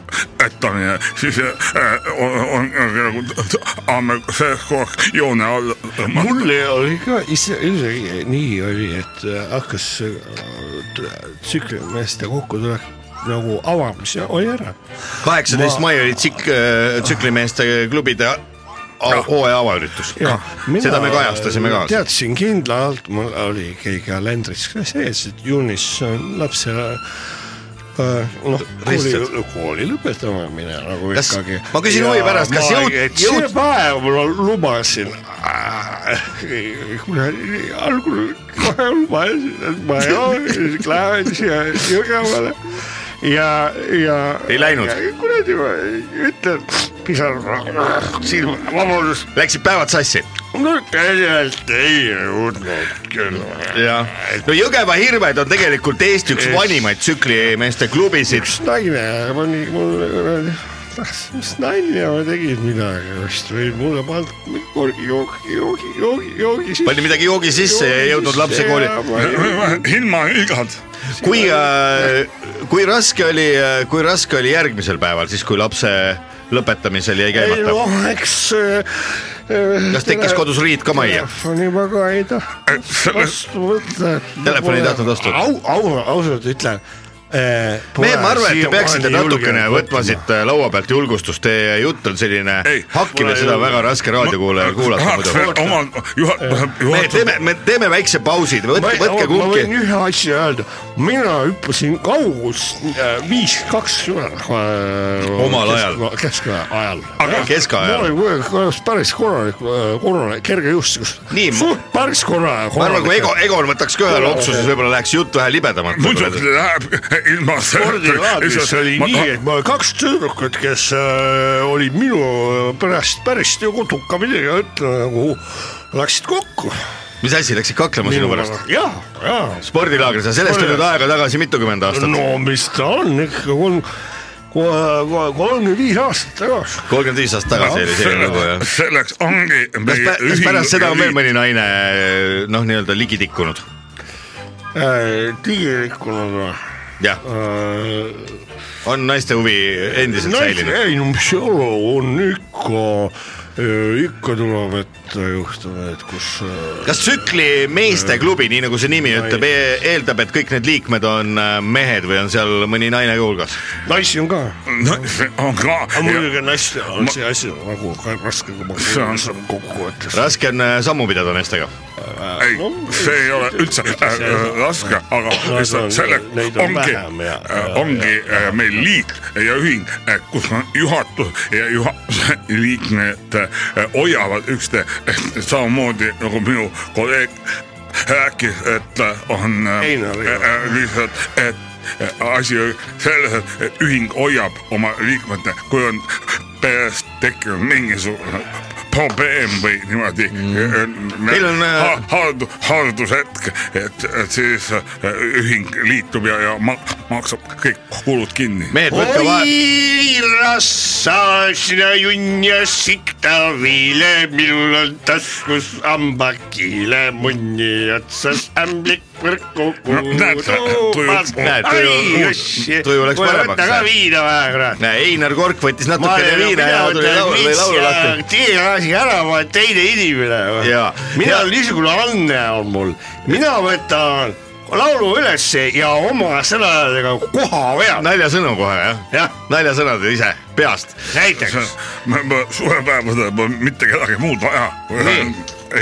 E: et on ja siis äh, on, on nagu saame sees koos joone all .
F: mul oli ka ise , isegi nii oli , et äh, hakkas äh, t- tsüklimeeste kokkutulek nagu avamise oli ära .
D: kaheksateist mai oli tsik- , tsüklimeeste klubide a- hooaja avaüritus . seda me kajastasime ka .
F: teadsin kindlalt , mul oli ikkagi kalendris ka sees , et juunis on lapse äh, noh , kooli
D: Ristsed. ,
F: kooli lõpetama mine nagu
D: Kas-
F: ikkagi .
D: ma küsin huvi pärast, kas jõud-
F: see
D: jõud-
F: päev ma lubasin äh, , kuradi , algul kohe lubasin , et ma ei ole , lähen siia Jõgevale ja , ja .
D: Ei läinud.
F: kuradi , ma ütlen , pisar silma , vabandust .
D: Läksid päevad sassi ?
F: no tegelikult ei jõudnud küll .
D: jah . no Jõgeva Hirved on tegelikult Eesti üks vanimaid tsüklimeeste klubisid .
F: üks naine pani mulle kuradi , mis nalja ma tegin midagi vist või mulle pandi korgi joogi , joogi , joogi , joogi
D: pani midagi joogi sisse ja ei jõudnud lapse kooli .
E: ilma igad
D: kui , kui raske oli , kui raske oli järgmisel päeval , siis kui lapse lõpetamisel jäi
F: ei
D: käimata ?
F: noh , eks . kas
D: kas tekkis ? kodus riid ka majja ?
F: telefoni ma ka ei tahtnud
E: selles
F: vastu võtta .
D: Telefoni ei tahtnud vastu võtta.
F: au , au , ausalt ütlen , eh,
D: Meem , ma arvan , et te peaksite natukene võtma siit äh, laua pealt julgustust , teie jutt on selline
E: Ei, ,
D: hakkime
E: pole
D: seda
E: ju-
D: väga raske raadiokuulajal kuulata
E: tahaks
D: muidu
E: veel . omal juhat- ,
D: me
E: juhatada
D: teeme , me teeme väikse pausi , võtke , võtke
B: ma võin
D: kumbki .
B: ühe asja öelda , mina hüppasin kaugust viis äh, kakskümmend .
D: Omal ajal. .
B: keskaja ajal . ma
D: keskajal .
B: olin kuule- kuule- päris korralik , korralik kergejõustikus .
D: Nii, ma-
B: suht päris korra- korralik .
D: ma arvan , kui Ego , Egon võtaks ka ühe loksu , siis võib-olla läheks jutt vähe libedamalt .
E: muidugi läheb ilma .
B: spordilaagris oli nii , et mul kaks tüdrukut , kes äh, olid minu pärast päris nagu tukkamillega , ütleme nagu läksid kokku .
D: mis asi , läksid kaklema sinu pärast ??
B: ja , ja .
D: spordilaagris , aga sellest oli nüüd aega tagasi mitukümmend aastat .
B: no mis ta on ikka , kolm , kolmkümmend viis aastat tagasi .
D: kolmkümmend viis aastat tagasi oli see lugu jah .
E: selleks ongi .
D: kas pä- kas pärast seda on veel mõni naine noh , nii-öelda ligi tikkunud ?
B: tegelikult on
D: jah , on naiste huvi endiselt säilinud .
B: äh, ei no mis olu on ikka , ikka tuleb ette juhtumeid , kus äh,
D: kas tsükli meesteklubi , nii nagu see nimi ütleb , eeldab , et kõik need liikmed on äh, mehed või on seal mõni naine ka hulgas ?
B: naisi on ka .
E: no oh, see on ka .
B: muidugi naiste on
E: Ma-
B: see asi nagu ka raske , kui ma
E: See on-
B: saan kokkuvõttes .
D: raske on äh, sammu pidada naistega .
E: ei , see ei ole üldse äh, raske , aga lihtsalt selle
F: neid on
E: ongi
F: vähem ja- ,
E: ongi äh, meil liit ja ühing , kus on juhatus ja juhatuse liikmed äh, hoiavad üksteist samamoodi nagu minu kolleeg rääkis , et äh, on äh,
B: Einar, jah.
E: äh, lihtsalt , et äh, asi on selles , et ühing hoiab oma liikmete , kui on perest tekkinud mingisugune probleem või niimoodi mm. .
D: Teil on, äh,
E: haldus , haldushetk , et , et siis äh, ühing liitub ja , ja ma, maksab kõik kulud kinni .
D: mehed , võtke vahe ,
F: rassasina junja sikta viile , minul on taskus hambakiile , munni otsas ämblik võrku
E: No näed, tuju-
D: näed, tuju- tuju läks paremaks,
F: võta ka
D: näed.
F: viina vähe , kurat .
D: Einar Kork võttis natukene viina ja tuli laulu , lõi laulu lahti .
F: tee asi ära , ma olen teine inimene .
D: Jaa.
F: mina
D: Ja- ,
F: niisugune anne on mul , mina võtan laulu ülesse ja oma sõnadega koha vean ,
D: naljasõnu kohe jah ?
F: jah ,
D: naljasõnad ise peast .
F: näiteks .
E: suvepäevadel pole mitte kedagi muud vaja , kui
D: Nii.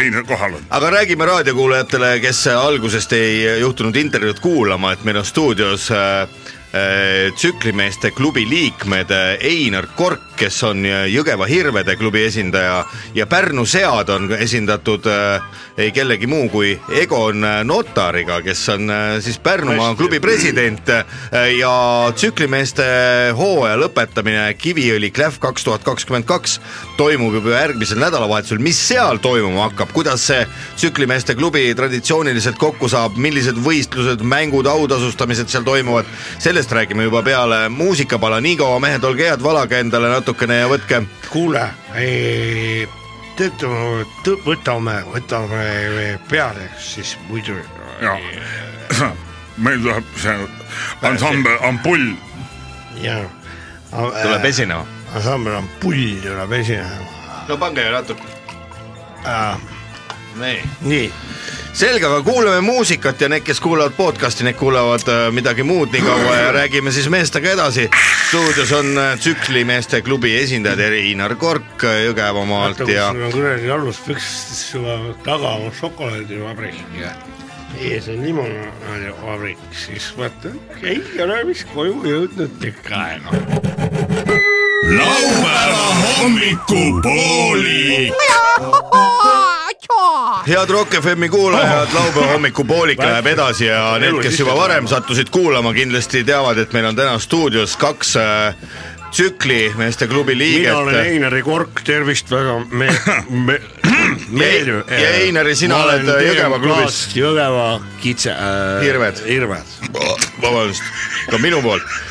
E: Einar kohal on .
D: aga räägime raadiokuulajatele , kes äh, algusest ei juhtunud intervjuud kuulama , et meil on stuudios äh, äh, tsüklimeeste klubi liikmed äh, Einar Kork , kes on äh, Jõgeva Hirvede klubi esindaja ja Pärnu sead on esindatud äh, ei kellegi muu kui Egon äh, Notariga , kes on äh, siis Pärnumaa klubi president äh, ja tsüklimeeste hooaja lõpetamine Kiviõli Clef kaks tuhat kakskümmend kaks toimub juba järgmisel nädalavahetusel , mis seal toimuma hakkab , kuidas see tsüklimeeste klubi traditsiooniliselt kokku saab , millised võistlused , mängud , autasustamised seal toimuvad , sellest räägime juba peale muusikapala , niikaua mehed , olge head , valage endale natukene ja võtke
B: kuule , teate , võtame , võtame eh, peale , siis muidu .
E: ja meil tuleb see ansambel Ampull ,
B: jah . eh,
D: tuleb esinema .
B: ansambel on pull tuleb esinema .
D: no pange natuke . nii ,
B: nii ,
D: selge , aga kuulame muusikat ja need , kes kuulavad podcast'i , need kuulavad äh, midagi muud nii kaua ja räägime siis meestega edasi . stuudios on äh, tsüklimeeste klubi esindajad Einar Kork äh, Jõgevamaalt
B: vaata kui
D: ja
B: sul on kuradi aluspükstes juba taga on šokolaadivabrik ja ees on limonaadivabrik , siis vaata , ei ole vist koju jõudnud tükk aega .
A: laupäeva hommikupooli .
D: head Rock FM-i kuulajad ,
B: Oh.
D: laupäeva hommikupoolik läheb edasi ja need , kes juba varem sattusid kuulama , kindlasti teavad , et meil on täna stuudios kaks äh, tsüklimeeste klubi
B: mina olen
D: liiget .
B: Einari Kork , tervist väga me- , me- , meeldiv .
D: ja Einari, sina oled äh, Jõgeva klubis. .
B: Jõgeva kitse äh, .
D: Hirved.
B: hirved .
D: Oh, vabandust , ka minu poolt .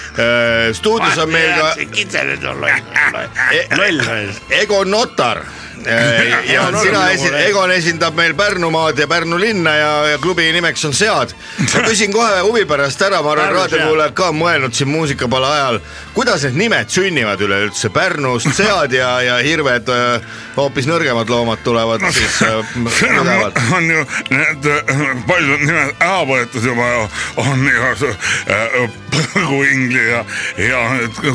D: stuudios on meil ka
F: kitse nüüd on loll ,
D: Eh,
F: loll mees .
D: Ego Notar . ja
B: Egon
D: sina
B: Notar. nagu
D: esi- , Egon esindab meil Pärnumaad ja Pärnu linna ja , ja klubi nimeks on Sead . ma küsin kohe huvi pärast ära , ma arvan ,
B: Pärnu Sead.
D: raadiokuulajad ka on mõelnud siin muusikapala ajal , kuidas need nimed sünnivad üleüldse , Pärnust Sead ja , ja Hirved , hoopis nõrgemad loomad tulevad siis äh,
E: siin on,
D: tugevad .
E: on ju need äh, paljud nimed ära võetud juba , on igasugused äh, nagu ingli ja , ja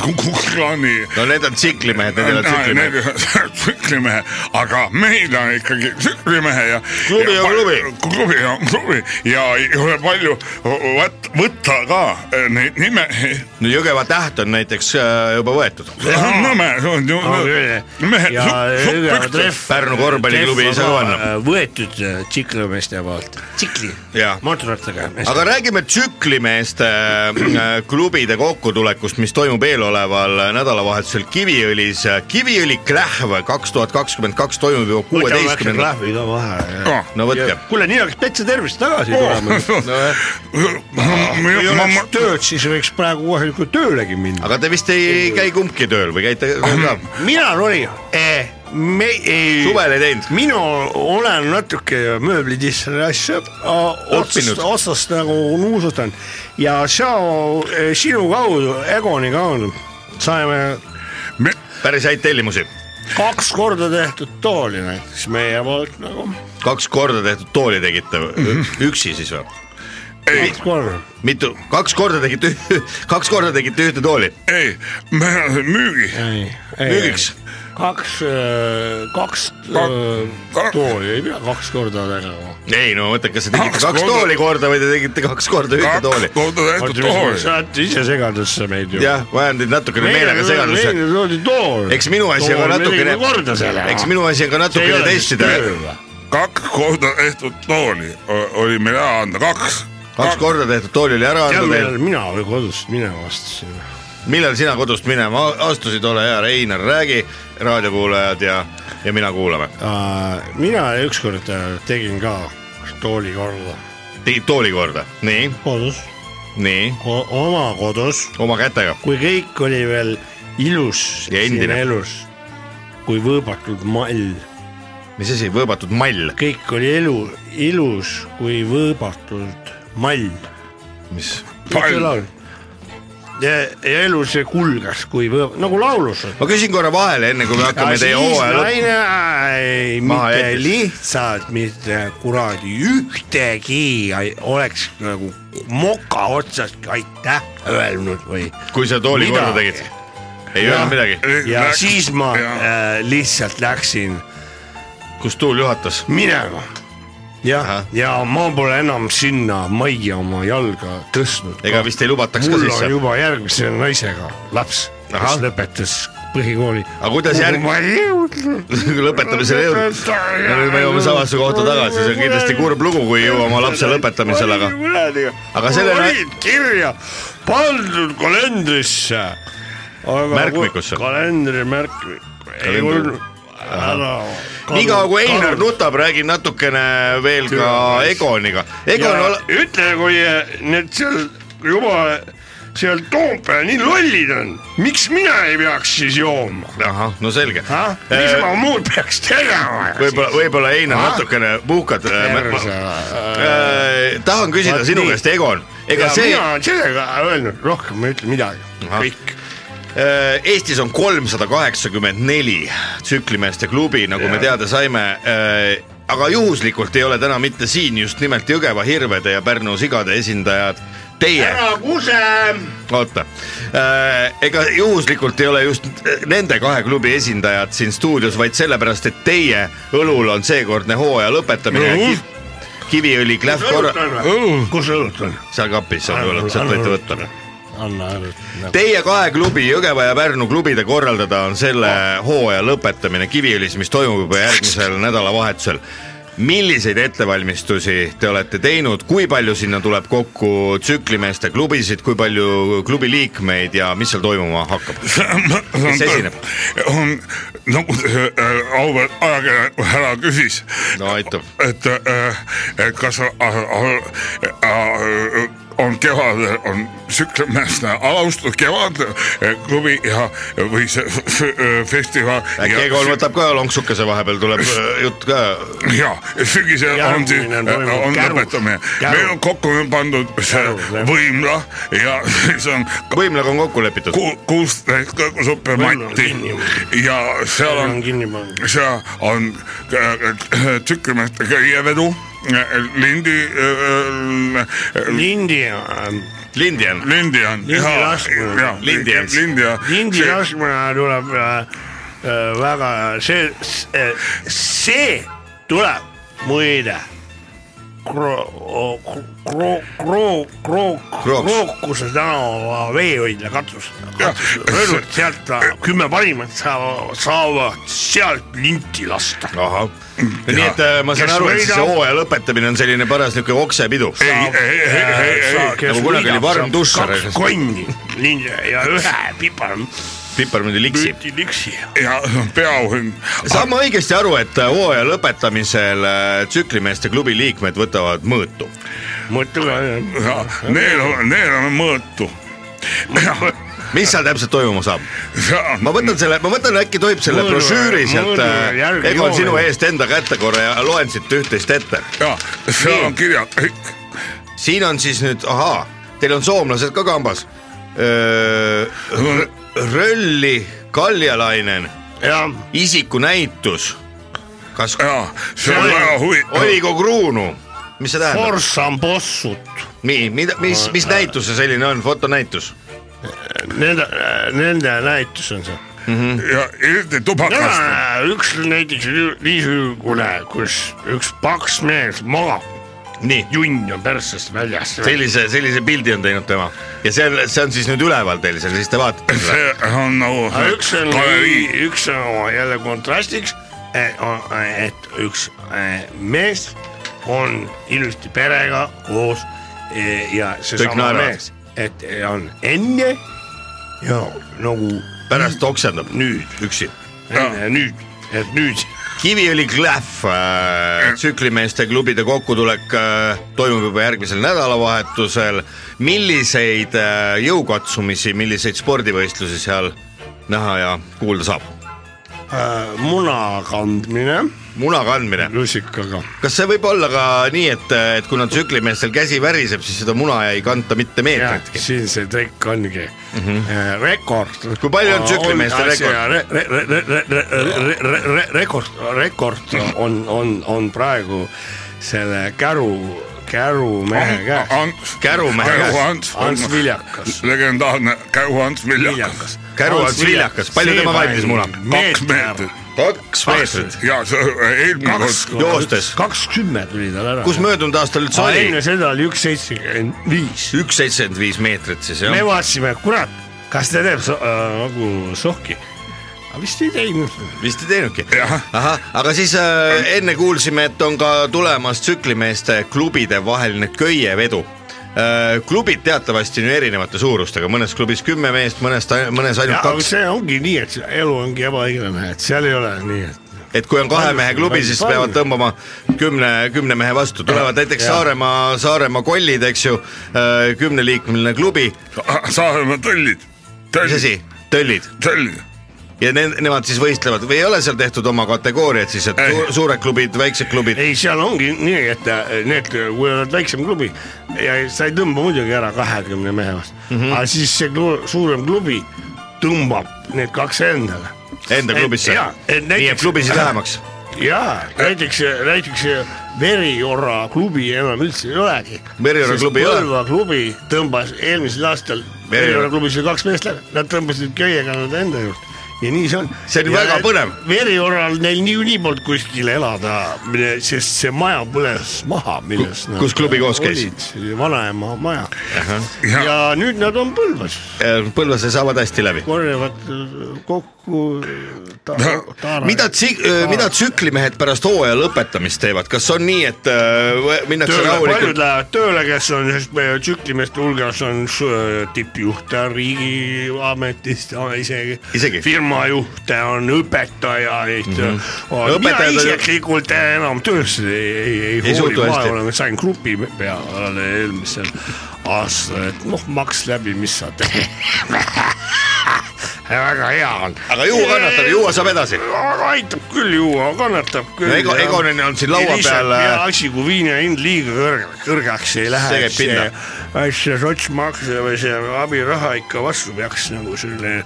E: kuklaani .
D: no need on tsiklimehed , need ei ole tsiklimehed .
E: tsüklimehe , aga meil on ikkagi tsüklimehe ja .
D: Klubi on klubi.
E: klubi on klubi ja ei ole palju võt- võtta ka eh, neid nimesid .
D: no Jõgeva täht on näiteks äh, juba võetud .
E: Nõmme , see on ju mehe
F: ja Jõgeva trehv .
D: Pärnu korvpalliklubi ei saa ka panna. .
F: võetud äh, tsiklimeeste poolt , tsikli
D: Jah. ,
F: mootorrattaga .
D: aga räägime tsüklimeeste äh, klubide kokkutulekust , mis toimub eeloleval nädalavahetusel Kiviõlis . Kiviõli Klähv kaks tuhat kakskümmend kaks toimub juba kuueteistkümnendal .
F: klahvi ka vahe .
E: supp .
D: no võtke .
F: kuule , nii oleks täitsa tervist tagasi tulema .
E: ei
F: kui oleks tööd , siis võiks praegu kohe nagu töölegi minna .
D: aga te vist ei käi kumbki tööl või käite ka ?
E: Mhm.
F: mina olin , me ei .
D: suvel ei teinud .
F: minu olen natuke mööblitissele asja a- otsast ,
D: Õppinud.
F: otsast nagu nuusutanud ja seal eh, sinu kaudu , Egoni kaudu saime
D: päris häid tellimusi .
F: kaks korda tehtud tooli näiteks meie poolt nagu .
D: kaks korda tehtud tooli tegite
E: Mhm.
D: või? üksi siis või ?
F: kaks korda .
D: mitu , kaks korda tegite , kaks korda tegite ühte tooli ,
E: ei , me müügi ,
F: ei , ei ,
D: müügiks .
F: kaks , kaks
E: Kak-
F: eh, tooli ei pea kaks korda tegema .
D: ei no mõtle , kas te tegite kaks,
E: Kaks
D: kaks
E: korda-
D: tooli korda või te tegite kaks korda ühte
E: kaks
D: tooli .
E: korda tehtud tooli .
F: sa oled ise segadusse meid ju .
D: jah , ma ajan teid natukene meelega segadusse .
F: meile toodi tool .
D: eks minu asi on ka natukene ,
F: korda selle .
D: eks minu asi on ka natukene testida .
E: kaks korda tehtud tooli o- oli meil ära anda , kaks .
D: kaks korda tehtud tool oli ära
F: tead ,
D: antud
F: millal
D: teil .
F: mina või kodust minema astusin ?
D: millal sina kodust minema astusid , ole hea , Reinar , räägi , raadiokuulajad ja , ja mina kuulame .
F: Ah. mina ükskord äh, tegin ka tooli korda .
D: tegid tooli korda , nii ,
F: kodus ,
D: nii ,
F: oma kodus ,
D: oma kätega .
F: kui kõik oli veel ilus
D: Ja
F: siin
D: endine.
F: elus , kui võõbatud mall ,
D: mis asi , võõbatud mall ,
F: kõik oli elu ilus kui võõbatud mall .
D: mis ?
E: Pall.
F: ja, ja elu see kulges kui võõb- , nagu laulus .
D: ma küsin korra vahele , enne kui me hakkame teie hooaja lõppu .
F: naine ei,
D: Maha
F: mitte
D: jättis.
F: lihtsalt mitte kuradi ühtegi ei oleks nagu moka otsast aitäh öelnud või .
D: kui sa tooli
F: Mida?
D: korda tegid . ei
F: Jah.
D: öelnud midagi ,
F: ja Läks, siis ma
E: ja.
F: äh, lihtsalt läksin
D: kus tuul juhatas .
F: minema . jah
D: Ahah. ,
F: ja ma pole enam sinna majja oma jalga tõstnud .
D: ega vist ei lubataks ka
F: mul
D: sisse
F: on . juba järgmise naisega laps , kes
D: Ahah.
F: lõpetas põhikooli .
D: aga kuidas järg- ,
F: ma ei jõudnud .
D: lõpetame selle jõudnud . no nüüd me jõuame samasse kohta tagasi , see on kindlasti kurb lugu , kui ei jõua oma lapse lõpetamisele , aga , aga
F: sellele
D: sellele ,
F: olid kirja pandud kalendrisse .
D: Märkmikusse.
F: kalendri märkmikku , ei
D: Kalendri-
F: olnud ära .
D: niikaua kui Einar nutab , räägin natukene veel ka Egoniga . Egon ,
F: ja ütle , kui eh, need seal juba seal Toompeal nii lollid on , miks mina ei peaks siis jooma ?
D: ahah , no selge .
F: mis ma muud peaks tegema ?
D: Eh, võib-olla , võib-olla Einar natukene puhkad . Äh, tahan küsida
F: Vaat
D: sinu
F: nii.
D: käest , Egon , ega
F: ja see...
D: see
F: mina olen sellega öelnud , rohkem ma ei ütle midagi , kõik .
D: Äh, Eestis on kolmsada kaheksakümmend neli tsüklimeeste klubi , nagu me teada saime . aga juhuslikult ei ole täna mitte siin just nimelt Jõgeva hirvede ja Pärnu sigade esindajad , teie ,
F: ära kuse .
D: oota . ega juhuslikult ei ole just nende kahe klubi esindajad siin stuudios , vaid sellepärast , et teie õlul on seekordne hooaja lõpetamine mm . -hmm. Kiviõli klähv korra ,
F: kus õlut on ?
D: seal kapis , sealt võite võtta
F: anna õlut .
D: Teie kahe klubi , Jõgeva ja Pärnu klubide korraldada on selle hooaja lõpetamine Kiviõlis , mis toimub juba järgmisel nädalavahetusel . milliseid ettevalmistusi te olete teinud , kui palju sinna tuleb kokku tsüklimeeste klubisid , kui palju klubi liikmeid ja mis seal toimuma hakkab ?
E: kes
D: esineb? ?
E: on nagu see, äh, auväärt ajakirjanik härra küsis .
D: No aitab.
E: et , et kas äh, äh, äh, on kevadel , on tsüklimeeste alustatud kevadel äh, klubi ja , või see f- äh, festival .
D: äkki Egon võtab ka lonksukese vahepeal , tuleb äh, jutt ka .
E: ja sügisel on siis ,
F: Järgmine toimub
E: on
F: Kärus.
E: lõpetamine ,
F: Kärus.
E: meil on kokku pandud see
F: Kärus, jah.
E: võimla ja siis on
D: võimlaga on kokku lepitud .
E: ku- kuusteist kõrgu supermatti
F: Võimla on
E: ja seal
F: on
E: on
F: kinni pandud .
E: seal on äh, tükimeeste käievedu , lindi ,
F: lindi äh,
D: Lindjan ,
E: äh, lindi on .
F: Lindi laskmine.
E: lindi
D: Lindi on-
E: on . lindi on .
F: lindi laskmine tuleb äh, äh, väga , see , see tuleb muide . Kro- , kro- , kro- , kro- ,
D: Krooks.
F: Krookuse tänava veehoidla katus , katus , rõõmult sealt äh, kümme parimat saavad , saavad sealt linti lasta .
D: ahah . nii et äh, ma saan
F: Mm. Kes
D: aru , et siis see
F: võidab?
D: hooaja lõpetamine on selline paras niuke oksepidu .
E: ei , ei , ei , ei , ei ,
D: Nagu kunagi oli Varm Tussar.
F: kaks konni linna ja ühe piparmütsi ,
D: piparmündi liksi .
F: liksi .
E: ja peaauhind .
D: saan ma õigesti aru , et äh, hooaja lõpetamisel äh, tsüklimeeste klubi liikmed võtavad mõõtu ?
F: mõtle ,
E: Neil on , neil on mõõtu .
D: mis seal täpselt toimuma saab ? ma võtan selle , ma võtan äkki tohib selle
F: Mõõdu-
D: brošüüri sealt
F: mõõdu järgi ,
D: Egon sinu
F: joone.
D: eest enda kätte korra ja loen siit üht-teist ette .
E: ja seal on kirjas kõik .
D: siin on siis nüüd , ahaa , teil on soomlased ka kambas . Rölli , Kaljalainen ,
F: jah ,
D: isikunäitus , kas
E: ja see on väga huvitav .
D: Oigo Kruunu , mis see tähendab ?
F: Forsam bossut
D: nii , mida , mis , mis näitus see selline on , fotonäitus ?
F: Nende , nende näitus on see .
E: ja eriti tubakast .
F: üks näiteks oli niisugune , kus üks paks mees magab ,
D: nii ,
F: junn on persest väljas .
D: sellise , sellise pildi on teinud tema ja see on , see on siis nüüd üleval teil seal , siis te vaatate seda .
E: see on nagu
F: aga üks on
E: galerii ,,
F: üks on oma jälle kontrastiks , et üks eh, mees on ilusti perega koos eh, ja seesama
D: naeravad.
F: mees , et on enne ja nagu
D: pärast oksendab
F: nüüd ,
D: üksi .
F: enne ja nüüd , et nüüd
D: Kiviõli Klähv äh, , tsüklimeeste klubide kokkutulek äh, toimub juba järgmisel nädalavahetusel . milliseid äh, jõukatsumisi , milliseid spordivõistlusi seal näha ja kuulda saab ?
F: äh, muna kandmine
D: muna kandmine ,
F: lusikaga
D: kas see võib olla ka nii , et , et kuna tsüklimeestel käsi väriseb , siis seda muna ei kanta mitte
F: jah ,
D: meetritki ?
F: siin see trikk ongi mm -hmm. rekord .
D: Mhm. Kui palju on tsüklimeeste rekord?
F: rekord ? rekord , rekord on , on , on praegu selle käru , kärumehe käes ,
E: Ants ,
D: kärumehe
E: Käru
D: käes ,
E: Ants ,
F: Ants Viljakas .
E: legendaarne Käru Ants Viljakas .
D: Käru Ants Viljakas. Palju tema kandis muna?
E: kaks meetrit
D: kaks meetrit ,
E: ja see eelmine kord ,
D: joostes.
F: kakskümmend tuli tal ära .
D: kus möödunud aastal üldse
F: oli ?
D: oli
F: enne ? seda oli üks seitsekümmend viis .
D: üks seitsekümmend viis meetrit siis
F: me
D: jah ?
F: vaatasime , kurat , kas ta teeb so äh, nagu sohki , aga vist ei teinud .
D: vist ei teinudki
E: Jah. .
D: ahah , aga siis äh, enne kuulsime , et on ka tulemas tsüklimeeste klubide vaheline köievedu äh, klubid teatavasti on ju erinevate suurustega , mõnes klubis kümme meest , mõnest , mõnes ainult ja,
F: ja aga
D: kaks ,
F: see ongi nii , et see elu ongi ebaõiglane , et seal ei ole nii , et
D: et kui on kahe
F: palju-
D: mehe klubi ,
F: palju-
D: siis
F: palju-
D: peavad tõmbama kümne , kümne mehe vastu , tulevad näiteks
F: ja.
D: Saaremaa , Saaremaa kollid , eks ju , kümneliikmeline klubi ,
E: Saaremaa tõllid ,
D: mis
E: tõllid ,
D: asi , tõllid
E: tõllid
D: ja ne, nemad siis võistlevad või ei ole seal tehtud oma kategooriad siis , et
E: Ei.
D: su suured klubid , väiksed klubid ,
F: ei , seal ongi nii , et äh, need , kui oled väiksem klubi ja sa ei tõmba muidugi ära kahekümne mehe vastu mm , -hmm. aga siis see klu, suurem klubi tõmbab need kaks endale .
D: enda klubisse , nii jääb klubisid vähemaks .
F: jaa , näiteks , näiteks Veriorra klubi enam üldse ei olegi .
D: Veriorra klubi ei ole.
F: Põlva klubi tõmbas eelmisel aastal , Veriorra klubis oli kaks meest , nad tõmbasid köiega nad enda juurde ja nii see on .
D: See on
F: ja
D: väga põnev.
F: Veriorral neil niikuinii polnud kuskil elada , sest see maja põles maha , milles nad
D: kus klubi koos käis?
F: olid, see oli vanaema maja . ja nüüd nad on Põlvas ,
D: Põlvase saavad hästi läbi .
F: korjavad äh, kokku ta, taara .
D: mida tsi- , mida tsüklimehed pärast hooaja lõpetamist teevad , kas on nii , et äh, võ- minnakse
F: tööle , paljud
D: rahulikult ,
F: lähevad tööle , kes on siis meie tsüklimeeste hulgas on s- tippjuhte on riigiametist , isegi,
D: Isegi? Mhm.
F: firmajuhte on õpetajaid mm . -hmm. mina
D: Õpetajad on-
F: isiklikult enam töösse ei, ei, ei, ei
D: suhtu
F: hooli , ma
D: hästi.
F: olen , sain grupi peale eelmisel aastal , et noh , maks läbi , mis sa teed . väga hea on .
D: aga juua kannatab , juua saab edasi .
F: aitab küll juua , kannatab küll .
D: Ego- Egonini on siin laua peal, äh,
F: peaasi , kui viina hind liiga kõrge , kõrgeks ei lähe .
D: See käib pinda.
F: asja sotsmaks või see abiraha ikka vastu peaks nagu selle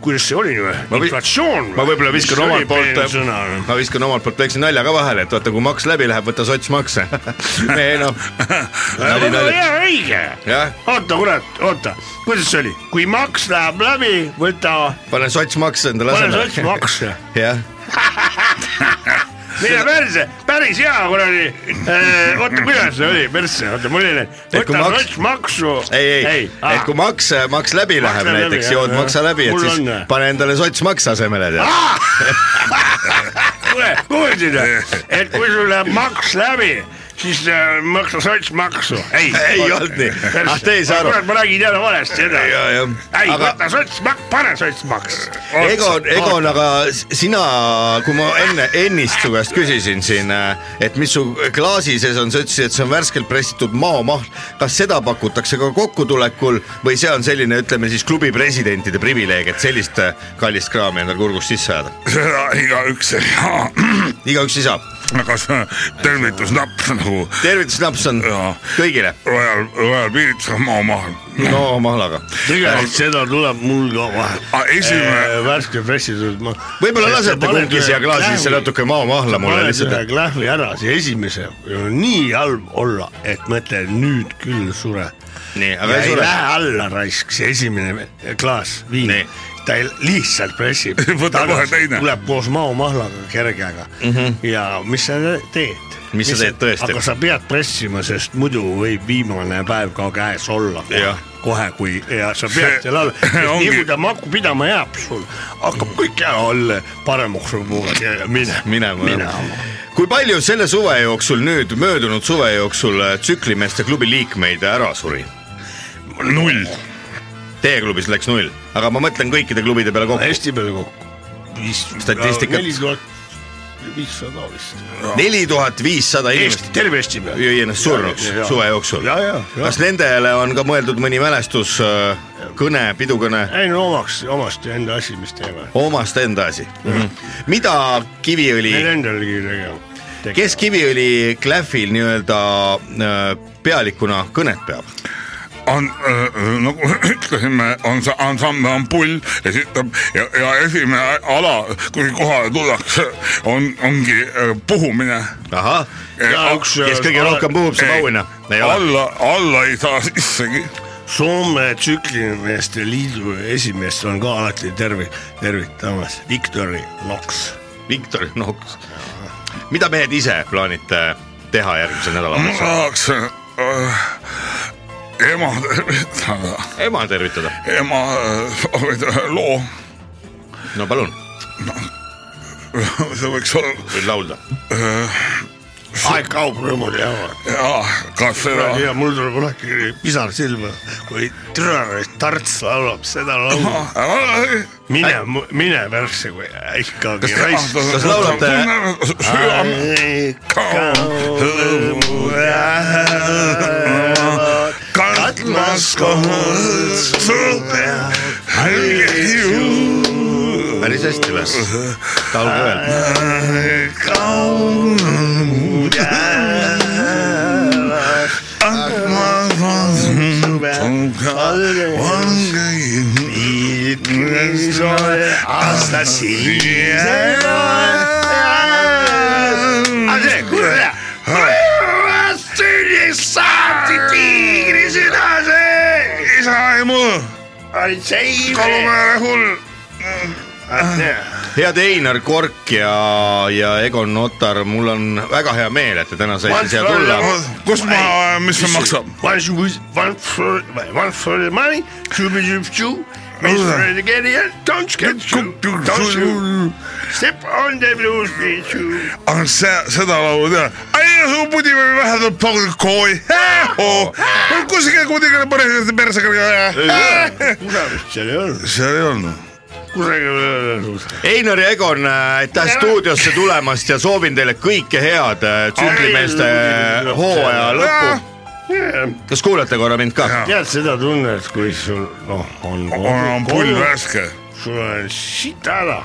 F: kuidas see oli või ?
D: vi-
F: inflatsioon
D: ma võib-olla viskan omalt poolt äh,
F: sõna ,
D: ma viskan omalt poolt väikse nalja ka vahele , et vaata , kui maks läbi läheb , võta sotsmakse . ei noh , nali ,
F: väga
D: nali ,
F: hea , õige .
D: jah ,
F: oota , kurat , oota , kuidas see oli , kui maks läheb läbi , võta ,
D: pane sotsmaks endale
F: pane
D: asemele .
F: sotsmakse ,
D: jah ,
F: mine perse , päris hea kuradi . oota , kuidas see oli , perse , oota mul oli ,
D: Et kui
F: võta
D: maks-
F: sotsmaksu .
D: ei , ei , et kui maks , maks läbi läheb
F: läheb
D: näiteks ,
F: Ah. läbi,
D: jood
F: jah,
D: maksa
F: jah. Ah!
D: läbi , et
F: Mul
D: siis
F: on.
D: pane endale sotsmaks asemele , tead .
F: kuule , kuulsid , et kui sul läheb maks läbi , siis äh, maksa sotsmaksu , ei .
D: ei olnud nii , ah te ei saa aru .
F: kurat , ma räägin jälle valesti seda .
D: ja , ja ,
F: ei ,
D: aga
F: võta sotsmaks , pane sotsmaks .
D: Egon , Egon , aga s- sina , kui ma enne , ennist su käest küsisin siin , et mis su klaasi sees on , sa ütlesid , et see on värskelt pressitud maomahl . kas seda pakutakse ka kokkutulekul või see on selline , ütleme siis klubi presidentide privileeg , et sellist äh, kallist kraami endale kurgust sisse ajada ?
E: seda igaüks ei saa ,
D: igaüks ei saa .
E: aga see tervitusnapp nagu
D: tervitusnaps on
E: Jaa.
D: kõigile
E: vajal , vajal piiritlema maamaha .
D: maomahlaga .
F: tegelikult seda tuleb mul ka vahel .
D: Äh,
E: esimene ,
F: värske pressitud ma .
D: võib-olla lasete kumbki siia klaasi sisse . natuke maomahla mulle
F: paned
D: lihtsalt
F: ühe . klähvi ära , see esimese , nii halb olla , et mõtle nüüd küll sure .
D: nii ,
F: ja
D: aga ei
F: ei
D: sure .
F: lähe alla raisk , see esimene klaas viina
D: Nii. ,
F: ta ei- lihtsalt pressib
E: Võta kohe teine.
F: tuleb koos maomahlaga kergega mm -hmm. ja mis sa teed ?
D: Mhm. Mis sa teed tõesti?
F: aga sa pead pressima , sest muidu võib viimane päev ka käes olla kohe,
D: Jah.
F: kohe , kui ja sa
E: See-
F: pead seal all ,
E: ongi-
F: nii kui ta maku pidama jääb sul , hakkab kõik ära olla paremaks võib-olla ja ja mine ,
D: minema,
F: mine
D: minema. . kui palju selle suve jooksul nüüd möödunud suve jooksul äh, tsüklimeeste klubi liikmeid ära suri ?
E: null ,
D: Teie klubis läks null , aga ma mõtlen kõikide klubide peale kokku .
F: Eesti peale kokku .
D: Statistikat.
F: neli tuhat viissada vist .
D: neli tuhat viissada
F: Eesti
D: inimest ,
F: terve Eesti peale .
D: jõi ennast surnuks
F: Ja, ja, ja.
D: suve jooksul
F: Ja, ja, ja. .
D: kas nendele on ka mõeldud mõni mälestus , kõne , pidukõne ?
F: ei no omaks , omasti enda asi , mis teeme .
D: omast enda asi mm .
F: Mhm.
D: -hmm. mida Kiviõli ,
F: meil endal ligi tegema .
D: kes Kiviõli klähvil nii-öelda äh, pealikuna kõnet peab ?
E: on äh, nagu ütlesime , on see ansambel on pull esitab ja , ja esimene ala , kui kohale tullakse , on , ongi äh, puhumine .
D: ahah , äh,
E: Ja
F: üks-
D: kes kõige rohkem puhub , saab
E: Ei.
D: auhinna .
E: alla , alla ei saa sissegi .
F: Soome tsüklimeeste liidu esimees on ka alati tervi- , tervitamas , Viktori Loks .
D: Viktor Noks . mida mehed ise plaanite teha järgmisel
E: ma
D: nädalal ?
E: tahaks äh, ema tervitada ,
D: ema tervitada .
E: ema äh, soovib ühe loo ,
D: no palun ,
E: see võiks olla
D: võid laulda .
F: aeg kaob rõõmul jääma .
E: jaa , kas seda
F: ja mul tuleb alati pisar silma , kui tüdruk Tarts laulab seda laulu . mine , mine persse , kui ikkagi raisk .
D: kas laulate-
E: laulate ?
F: katlas kohus su peal ,
E: halge ju
D: päris hästi või ? laul ka veel .
E: kaunad armas on su valge ilm .
F: aasta siia .
E: isa ja mu Kalumäe hull .
D: head Einar Kork ja , ja Egon Notar , mul on väga hea meel , et te täna saite siia tulla .
E: kus ma , mis see maksab ?
F: Once you was one for one for the money, two be you two, miss for the get it, don't get you, don't you step on the blues be you.
E: aga see , seda laulu tean . ai , su pudime vähe tuleb paugud kooli . kuskil kuidagi päris persega .
F: kusagil seal ei olnud .
E: seal ei olnud .
F: kusagil ei olnud .
D: Einar ja Egon , aitäh stuudiosse tulemast ja soovin teile kõike head äh, tsüklimeeste hooaja lõppu . kas kuulete korra mind ka ?
F: tead seda tunnet , kui sul noh , on .
E: on , on pull . värske .
F: sul on siit ära .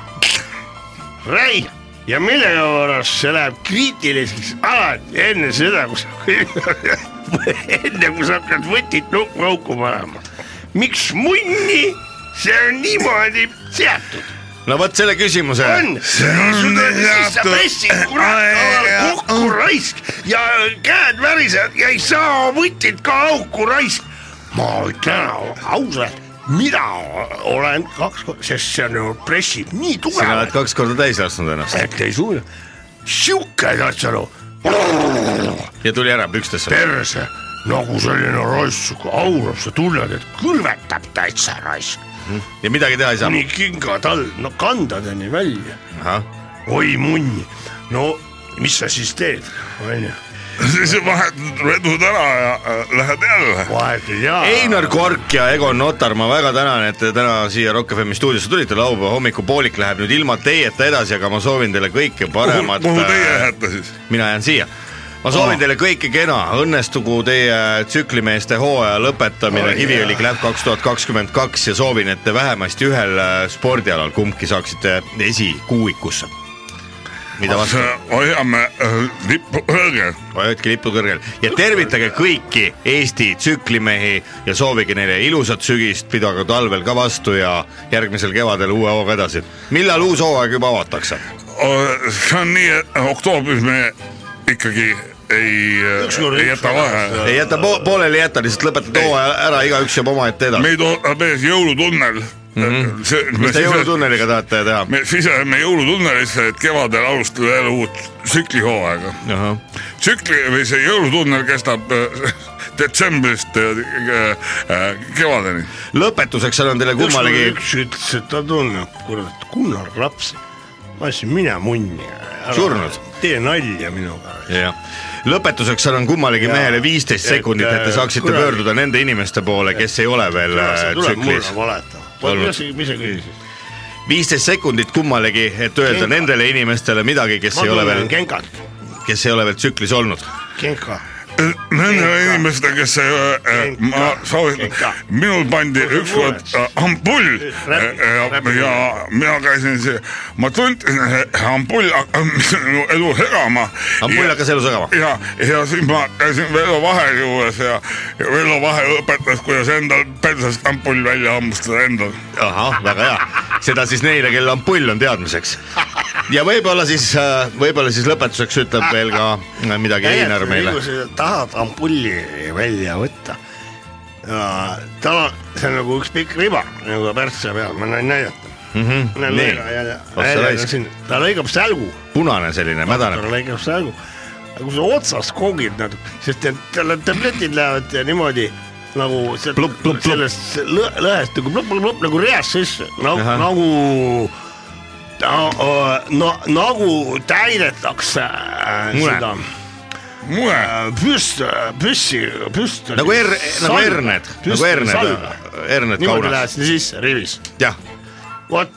F: Rai ja millegipärast see läheb kriitiliseks alati enne seda , kui sa , enne kui sa hakkad võtit nukku auku panema . miks munni see on niimoodi seatud .
D: no vot selle küsimuse .
F: on ,
E: see
F: sul
E: on
F: tuleb sisse
E: teatud
F: pressid , kurat , laval kokku raisk ja käed värisevad ja ei saa võtit ka auku raisk . ma ütlen ausalt , mina olen kaks , sest see on ju pressib nii
D: sina oled
F: tugevalt ,
D: kaks korda täis lasknud ennast
F: et ei suuda . sihuke , saad sa aru
D: ja tuli ära pükstesse .
F: perse , nagu selline raisk , aurab , sa tunned , et kõlvetab täitsa raisk .
D: ja midagi teha ei saa .
F: kuni kingad all , no kandadeni välja ,
D: ahah ,
F: oi munni , no mis sa siis teed , onju ,
E: siis vahetad vedud ära ja äh, lähed jälle .
F: vahet ei jää .
D: Einar Kork ja Egon Notar , ma väga tänan , et te täna siia Rock FM stuudiosse tulite , laupäeva hommikupoolik läheb nüüd ilma teieta edasi , aga ma soovin teile kõike paremat .
E: kuhu teie lähete siis ?
D: mina jään siia . ma soovin teile kõike kena , õnnestugu teie tsüklimeeste hooaja lõpetamine Kiviõli Klähv kaks tuhat kakskümmend kaks ja soovin , et te vähemasti ühel äh, spordialal kumbki saaksite esikuuikusse . mida
E: Ah,
D: vastu ,
E: hoiame äh, lippu kõrgel .
D: hoidke lippu kõrgel ja tervitage kõiki Eesti tsüklimehi ja soovige neile ilusat sügist , pidage talvel ka vastu ja järgmisel kevadel uue hooga edasi . millal uus hooaeg juba avatakse ?
E: see on nii , et oktoobris me ikkagi ei , ei jäta vahele .
D: ei jäta po , pooleli ei jäta , lihtsalt lõpetate hooaja ära , igaüks jääb omaette edasi .
E: meid ootab ees jõulutunnel mm . -hmm. see , me
D: mis te
E: sise-
D: jõulutunneliga tahate teha ?
E: me siseneme jõulutunnelisse , et kevadel alustada jälle uut tsüklihooaega . tsükli või see jõulutunnel kestab äh, detsembrist äh, äh, kevadeni .
D: lõpetuseks annan teile kummalegi
F: üks ütles , et ta tunneb , kurat , Gunnar Raps , ma ütlesin , mine munni .
D: Surnud. .
F: tee nalja minuga .
D: Jah. lõpetuseks annan kummalegi
F: Jaa.
D: mehele viisteist
F: Et,
D: sekundit , et te
F: äh,
D: saaksite
F: kuradi-
D: pöörduda nende inimeste poole , kes ei ole veel äh,
F: tuleb
D: tsüklis
F: mulle . valetama .
D: Olnud.
F: mis sa , mis sa küsisid ?
D: viisteist sekundit kummalegi , et öelda
F: Kenka.
D: nendele inimestele midagi , kes
F: ma
D: ei ole
F: tunnen
D: veel ,
F: kenkat ,
D: kes ei ole veel tsüklis olnud .
F: kenka .
E: Nendele inimestele , kes ei ole äh, , ma soovitan
F: Kenka. ,
E: minul pandi ükskord äh, ampull
F: Räpi,
E: äh, ja,
F: räpi.
E: ja mina käisin , ma tundsin , et ampull äh, hakkas minu elu segama .
D: ampull hakkas elu segama .
E: ja , ja siis ma käisin Vello Vahe juures ja ja Vello Vahe õpetas , kuidas endal persest ampull välja hammustada endal .
D: ahah , väga hea , seda siis neile , kellel ampull on teadmiseks . ja võib-olla siis , võib-olla siis lõpetuseks ütleb veel ka äh, midagi Einar meile .
F: kui sa tahad ampulli välja võtta , tal on , see on nagu üks pikk riba nagu pärsse peal , ma näin näidata mm . -hmm,
D: Mhm. nii. Oh sa raisk.
F: nii , ta lõigab sälgu ,
D: punane selline , mädane
F: ta lõigab sälgu , aga kui sa otsast koogid natuke , sest need talle tabletid lähevad niimoodi nagu sealt-
D: Plup, plup, plup.
F: sellest lõ- lõhest nagu plõpp-plõpp-plõpp nagu reast sisse , nagu
D: Ahah. ,
F: nagu ta- no nagu täidetakse äh,
D: Mune.
F: seda äh,
E: mure ,
F: püst , püssi , püstoli .
D: nagu er- , nagu herned , nagu herned , herned
F: niimoodi lähed
D: kaunas ,
F: sinna sisse rivis ,
D: jah .
F: vot .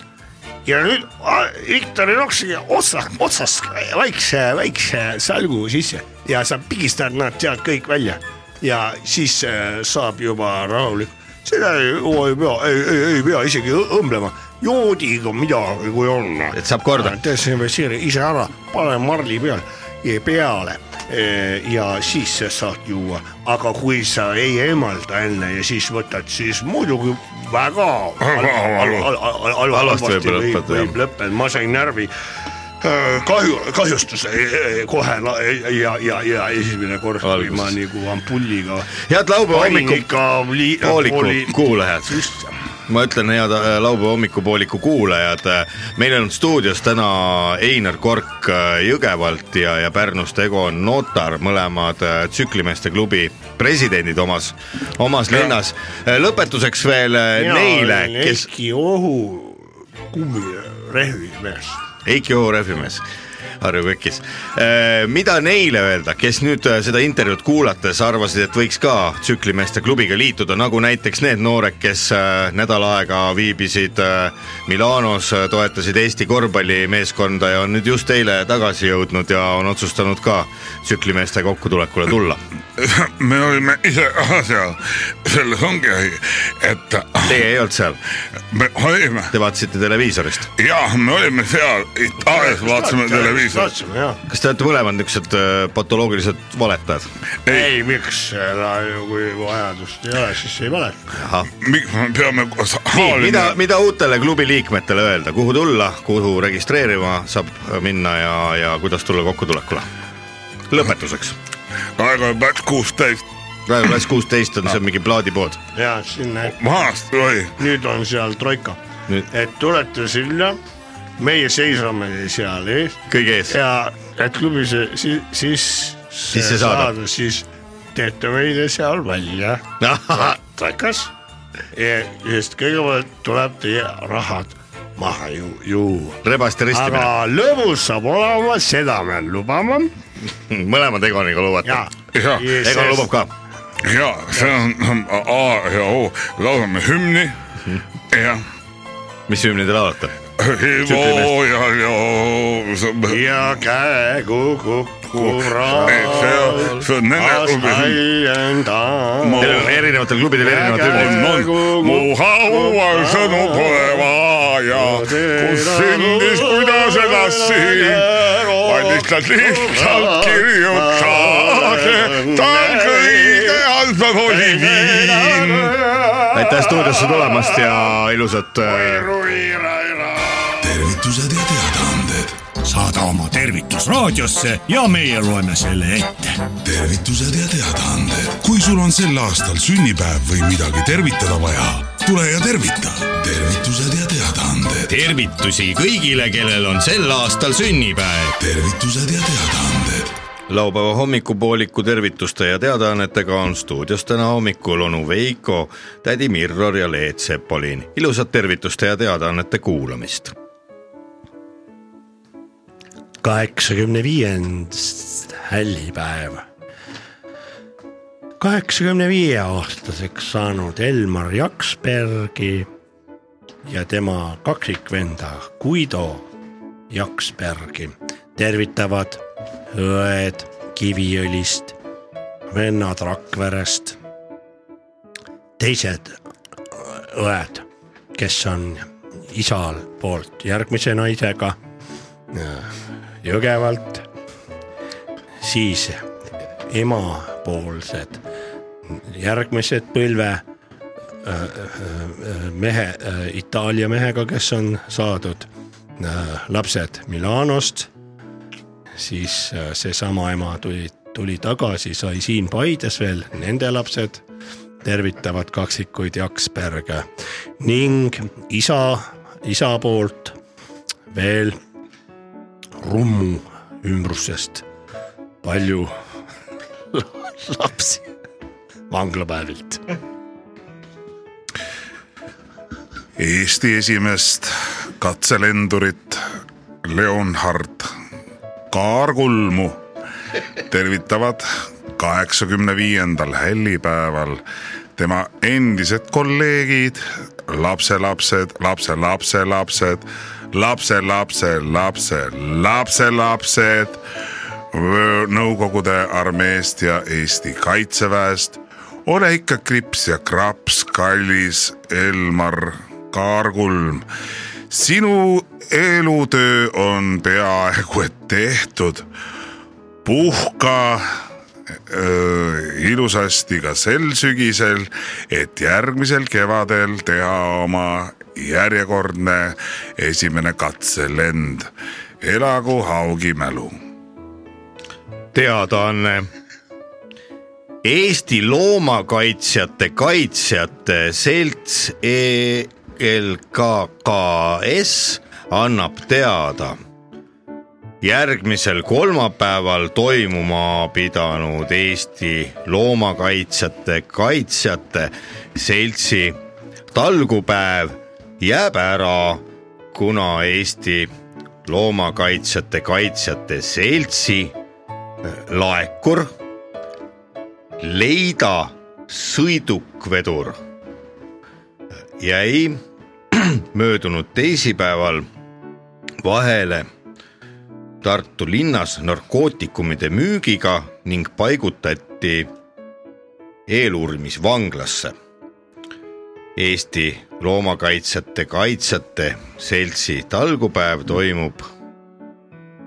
F: ja nüüd a- Viktori roksiga otsa , otsast väikse , väikse salgu sisse ja sa pigistad nad sealt kõik välja ja siis äh, saab juba rahulik , seda ei, oo, ei pea , ei , ei , ei pea isegi õ- õmblema , joodiga midagi , kui on .
D: Et saab korda.
F: desinfitseeri ise ära , pane marli peal , peale eh, ja siis sa saad juua , aga kui sa ei eemalda enne ja siis võtad , siis muidugi väga
E: Väga halb-
D: halvasti
F: halvasti
D: võib
F: võib ,
D: lõppeda,
F: võib
D: jah.
F: lõppeda , ma sain närvi eh, kahju , kahjustuse eh, eh, kohe la- eh, ja , ja , ja esimene kord , kui
D: Alguses.
F: ma nagu ampulliga .
D: head laupäeva hommikut , pooliku
F: hommikul .
D: kuulajad . ma ütlen , head äh, laupäeva hommikupooliku kuulajad , meil on stuudios täna Einar Kork äh, Jõgevalt ja , ja Pärnust Egon Notar , mõlemad äh, tsüklimeeste klubi presidendid omas , omas linnas . lõpetuseks veel äh, neile , kes ,
F: Eiki Ohu kummirehvimees
D: Heiki Ohu rehvimees , Harju kökis . mida neile öelda , kes nüüd äh, seda intervjuud kuulates arvasid , et võiks ka tsüklimeeste klubiga liituda , nagu näiteks need noored , kes äh, nädal aega viibisid äh, Milanos , toetasid Eesti korvpallimeeskonda ja on nüüd just eile tagasi jõudnud ja on otsustanud ka tsüklimeeste kokkutulekule tulla .
E: me olime ise ka seal , selles ongi asi , et
D: Teie ei olnud seal ?
E: me olime
D: Te vaatasite televiisorist .
E: ja me olime seal Itaalias , vaatasime televiisorit .
H: vaatasime jah .
D: kas te olete mõlemad niisugused äh, patoloogilised valetajad ?
H: ei , miks , kui vajadust ei ole , siis ei valeta .
E: miks me peame koos
D: mida
E: haalima ,?
D: mida uutele klubi liikmetele öelda , kuhu tulla , kuhu registreerima saab äh, minna ja , ja kuidas tulla kokkutulekule ? lõpetuseks ,
E: aega on päris kuusteist ,
D: Rae klass kuusteist on see mingi plaadipood .
H: ja sinna ,
E: vanasti oli ,
H: nüüd on seal troika
D: Nüüd. ,
H: et tulete sinna , meie seisame seal ees
D: kõige ees ,
H: ja et klubi see siis , siis
D: Sisse saada.
H: saada , siis teete meile seal välja troikas . sest kõigepealt tuleb teie rahad maha ju , juua .
D: rebast ja
H: aga
D: ristimine ,
H: lõbus saab olema , seda me lubame
D: mõlemad Egoniga lubate
H: ja .
E: Jah,
D: Egon lubab ka ,
E: ja see on A ja O , laulame hümni ja .
D: mis hümni te laulate ?
E: hooajal ja hoovusab .
H: ja käe kukub
E: see on , see on nende klubi .
H: kuraastajendav .
D: Teil
E: Oh.
D: on erinevatel klubidel erinevad
H: Äge.
D: hümnid .
E: on , on , mu haual sõnu pole vaja , kus sündis , kuidas edasi vaid lihtsalt lihtsalt kirjutage , tal kõige allpool oli viin .
D: aitäh stuudiosse tulemast ja ilusat äh,
A: tervitused ja teadaanded . saada oma tervitus raadiosse ja meie loeme selle ette .
I: tervitused ja teadaanded . kui sul on sel aastal sünnipäev või midagi tervitada vaja , tule ja tervita . tervitused ja teadaanded ,
D: tervitusi kõigile , kellel on sel aastal sünnipäev .
I: tervitused ja teadaanded .
D: laupäeva hommikupooliku tervituste ja teadaannetega on stuudios täna hommikul onu Veiko , tädi Mirror ja Leet Sepolin . ilusat tervituste ja teadaannete kuulamist .
F: kaheksakümne viiendast hällipäev . kaheksakümne viie aastaseks saanud Elmar Jaksbergi ja tema kaksikvenda Guido Jaksbergi tervitavad õed Kiviõlist , vennad Rakverest , teised õed , kes on isal poolt järgmise naisega Jõgevalt , siis emapoolsed , järgmised põlve öö, öö, mehe , Itaalia mehega , kes on saadud öö, lapsed Milanost , siis öö, seesama ema tuli , tuli tagasi , sai siin Paides veel nende lapsed , tervitavad kaksikuid Jaksberge ning isa , isa poolt veel Rummu ümbrusest palju lapsi vanglapäevilt .
E: Eesti esimest katselendurit Leonhard Kaarkulmu tervitavad kaheksakümne viiendal hällipäeval tema endised kolleegid , lapselapsed , lapselapselapsed , lapselapselapse , lapselapsed , Nõukogude armeest ja Eesti kaitseväest . ole ikka krips ja kraps , kallis Elmar Kaarkulm sinu elutöö on peaaegu et tehtud . puhka öö, ilusasti ka sel sügisel , et järgmisel kevadel teha oma järjekordne esimene katselend . elagu haugi mälu .
D: teadaanne . Eesti Loomakaitsjate Kaitsjate Selts E ELKKS annab teada järgmisel kolmapäeval toimuma pidanud Eesti Loomakaitsjate Kaitsjate Seltsi talgupäev jääb ära , kuna Eesti Loomakaitsjate Kaitsjate Seltsi laekur , leida sõidukvedur jäi möödunud teisipäeval vahele Tartu linnas narkootikumide müügiga ning paigutati eeluurimisvanglasse . Eesti Loomakaitsjate Kaitsjate Seltsi talgupäev toimub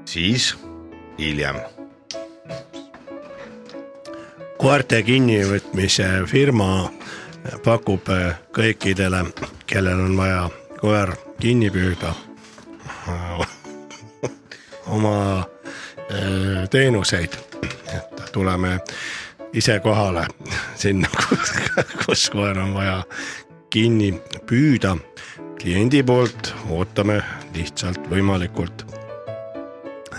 D: siis hiljem .
F: koerte kinnivõtmise firma pakub äh, kõikidele , kellel on vaja koer kinni püüda oma äh, teenuseid , et tuleme ise kohale sinna , kus koer on vaja kinni püüda . kliendi poolt ootame lihtsalt võimalikult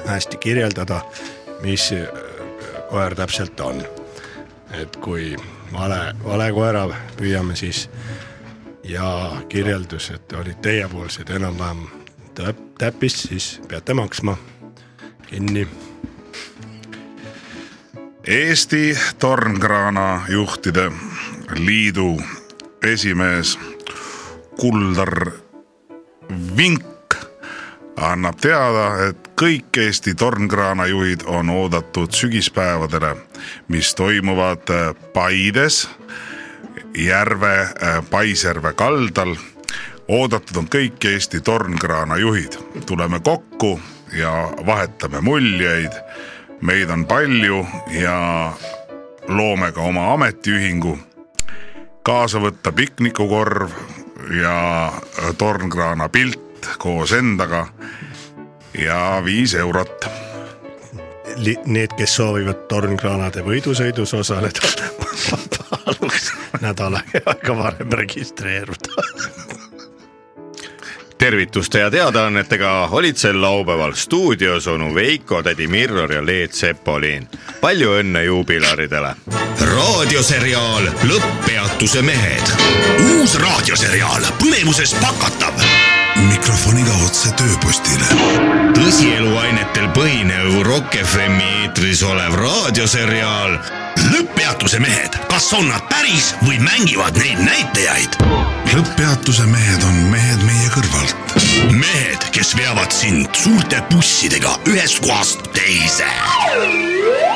F: hästi kirjeldada , mis äh, koer täpselt on et kui vale , vale koera püüame , siis ja kirjeldused olid teiepoolsed enam-vähem täp- , täppis , siis peate maksma kinni .
E: Eesti Tornkraana juhtide liidu esimees Kuldar Vink annab teada , et kõik Eesti Tornkraana juhid on oodatud sügispäevadele , mis toimuvad äh, Paides , Järve , Paisjärve kaldal . oodatud on kõik Eesti Tornkraana juhid , tuleme kokku ja vahetame muljeid . meid on palju ja loome ka oma ametiühingu kaasa võtta piknikukorv ja äh, tornkraana pilt koos endaga ja viis eurot .
F: Need , kes soovivad tornkraanade võidusõidus osaleda , paluks nädal aega varem registreeruda .
D: tervituste ja teadaannetega olid sel laupäeval stuudios onu Veiko , tädi Mirror ja Leet Sepolin . palju õnne juubilaridele
J: raadioseriaal Lõpppeatuse mehed
A: uus raadioseriaal põnevuses pakatav .
I: mikrofoniga otse tööpostile .
J: tõsieluainetel põhinev Rock FM-i eetris olev raadioseriaal
A: lõpppeatuse mehed , kas on nad päris või mängivad neid näitajaid ?
I: lõpppeatuse mehed on mehed meie kõrvalt .
A: mehed , kes veavad sind suurte bussidega ühest kohast teise .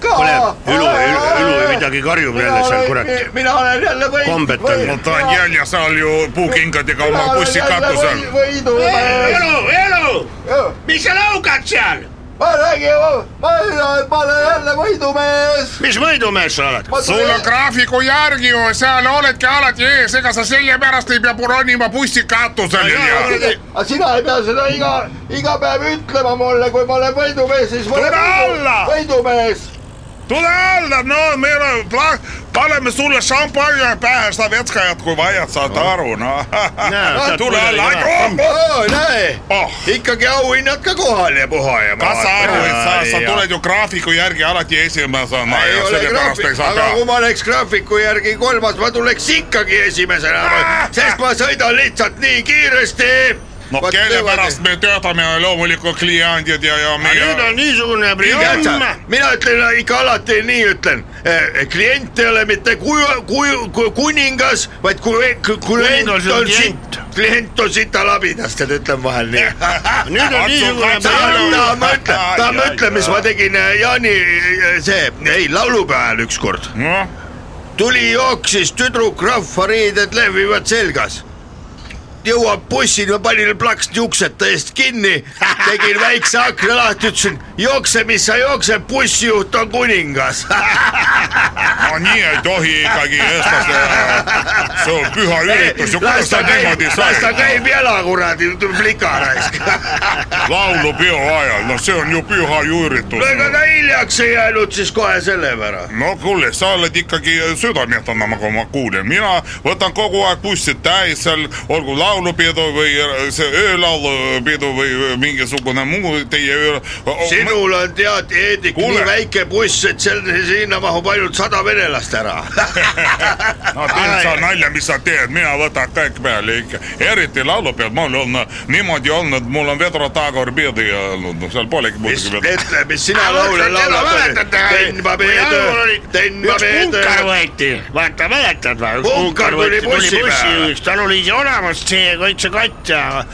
F: kuule , Ülu , Ülu või midagi karjub jälle seal , kurat .
K: mina olen jälle võit-
F: Kombed on.
K: võit-
F: No
E: ta on jäljas all ju puukingadega oma
K: mina olen
E: bussi
K: jälle
E: katuse all
K: või- . võidu .
L: elu , elu , mis sa laugad seal ?
K: ma räägin , ma olen , ma olen jälle võidumees .
F: mis võidumees sa oled ?
E: sul on graafiku järgi ju , seal oledki alati ees , ega sa sellepärast ei pea ronima bussi katusele ja .
K: aga sina ei pea seda iga , iga päev ütlema mulle , kui ma olen võidumees , siis ma olen
E: Tule
K: võidu-
E: alla!
K: võidumees .
E: tule alla , no meil on pla- , paneme sulle šampanja pähe , sa vetskajad , kui vaja , saad aru , noh . tule alla ,
K: näe ,
E: oh .
K: ikkagi auhinnad ka kohal ja puha ja .
E: kas sa aru , et sa , sa tuled ju graafiku järgi alati esimesena
K: ei
E: ja
K: ole
E: sellepärast ei
K: graafik ,
E: saa
K: aga kui
E: teha .
K: ma oleks graafiku järgi kolmas , ma tuleks ikkagi esimesena , Ah! sest ma sõidan lihtsalt nii kiiresti .
E: no kelle pärast me töötame , loomulikult kliendid ja , ja meie .
F: niisugune
K: mina ütlen ikka alati nii ütlen , klient ei ole mitte kuju , kuju , kuningas , vaid ku- ku-
F: Kuningas
K: klient
F: on
K: on
F: klient.
K: siit , klient on sitalabidast , et ütlen vahel nii .
F: nüüd on niisugune
K: tahan ma ütlen , tahan ma ütlen , mis ma tegin äh, Jaani äh, see , ei laulupea ajal ükskord .
E: noh ,
K: tuli jooksis tüdruk , rahvariided lehvivad selgas . jõuab bussi , ma panin plaksti uksete eest kinni , tegin väikse akna lahti , ütlesin jookse , mis sa jooksed , bussijuht on kuningas .
E: no nii ei tohi ikkagi eestlase , see on püha üritus ju , kuidas
K: las
E: sa
K: ta käib
E: niimoodi ,
K: las ta käib
E: said ?
K: jala kuradi , plika raisk .
E: laulupeo ajal , no see on ju püha ju üritus .
K: ega ta hiljaks ei jäänud siis kohe selle pärast .
E: no kuule , sa oled ikkagi südametena , nagu ma kuulen , mina võtan kogu aeg bussi täis seal , olgu la- laulupidu või see öölaulupidu või mingisugune muu teie öö .
D: sinul on tead , Eedik , nii
E: Kuule.
D: väike buss , et seal sinna mahub ainult sada venelast ära .
E: no tee sa nalja , mis sa teed , mina võtan kõik peale ikka , eriti laulupeod , mul on niimoodi olnud , mul on Vedro Tagor pidu ja olnud , seal polegi muidugi pidu .
D: ütle , mis sina laule laulad . tenba peetöö , tenba
F: üks punkar
D: peetöö .
F: võeti , vaata mäletad või ?
D: Punkar tuli bussi peale.
F: tal oli see olemas , see kaitsekott ja ,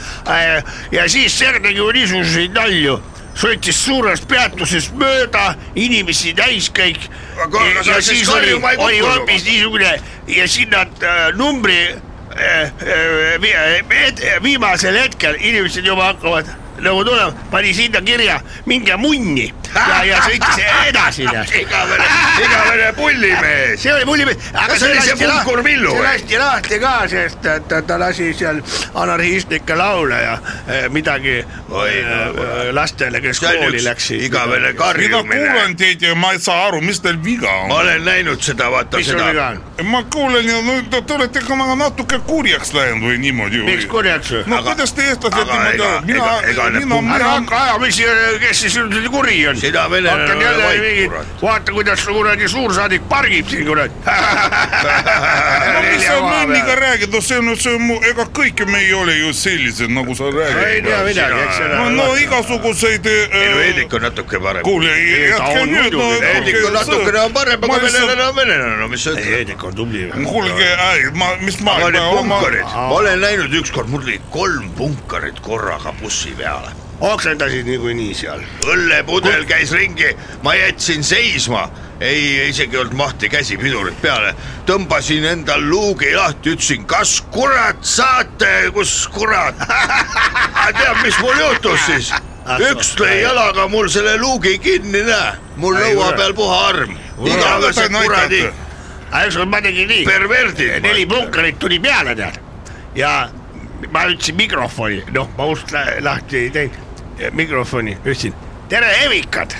F: ja siis Ser tegi ju niisuguseid nalju , sõitis suurest peatusest mööda , inimesi täis kõik .
D: Aga
F: ja
D: sa
F: ja
D: siis
F: siis oli ,
D: karjuma ei
F: oli
D: kukkunud.
F: hoopis niisugune ja sinna äh, numbri äh, äh, vi- et- viimasel hetkel inimesed juba hakkavad nagu tulema , pani sinna kirja minge munni ja , ja sõitis edasi tead .
D: igavene , igavene pullimees .
F: see oli pullimees , aga
D: Kas see oli see Punkur Villu
F: see
D: või?
F: lasti lahti ka , sest ta, ta, ta lasi seal anarhistlikke laule ja eh, midagi
D: Oi,
F: eh, eh, lastele , kes
D: see on
F: kooli
D: üks
F: läksid .
D: igavene
E: mida
D: karjumine .
E: kuulan teid ja ma ei saa aru , mis teil viga on
D: ma ? olen näinud seda , vaata
F: mis sul viga
D: seda .
F: on ,
E: ma kuulen ja no te- te olete ka ma- natuke kurjaks läinud või niimoodi
F: miks
E: või ?
F: kurjaks või ?
E: no
D: Aga-
E: aga, kuidas te eestlased
D: aga
E: niimoodi
D: ega- ,
E: mina
D: ega- , ega need
E: mina ,
F: ära
E: mina ,
F: hakka ajama , mis , kes siis üldse kuri on .
D: Sina venelane
F: hakkad
D: ole
F: jälle
D: vait,
F: mingi
D: kurat. ,
F: vaata , kuidas su kuradi suursaadik pargib siin kuradi .
E: no mis sa
F: Nelja koha
E: mõnniga
F: peal.
E: räägid , no see on , see on mu , ega kõik me ei ole ju sellised , nagu sa
F: ei
E: räägid .
F: tea midagi , eks ole
E: no , no igasuguseid .
D: minu Eedik on natuke parem .
E: kuule , jätke nüüd , no
D: Eedik on natukene on parem , aga venelane on venelane , no mis sa ütled .
M: Eedik on tubli .
E: kuulge , ma , mis ma .
D: aga need punkarid , ma olen näinud ükskord , mul tuli kolm punkarit korraga bussi peale .
M: oksendasid niikuinii seal .
D: õllepudel käis ringi , ma jätsin seisma , ei isegi ei olnud mahti käsi pidurit peale , tõmbasin endal luugi lahti , ütlesin , kas kurat saate , kus kurat . tead , mis mul juhtus siis ? üks lõi jalaga mul selle luugi kinni , näe , mul lõua peal puha arm , igavesed kuradi
F: aga ükskord ma tegin nii .
D: perverdid .
F: neli punkarit tuli peale tead ja ma ütlesin mikrofoni , noh , ma ust lä- lahti ei teinud , mikrofoni ütlesin , tere hevikad ,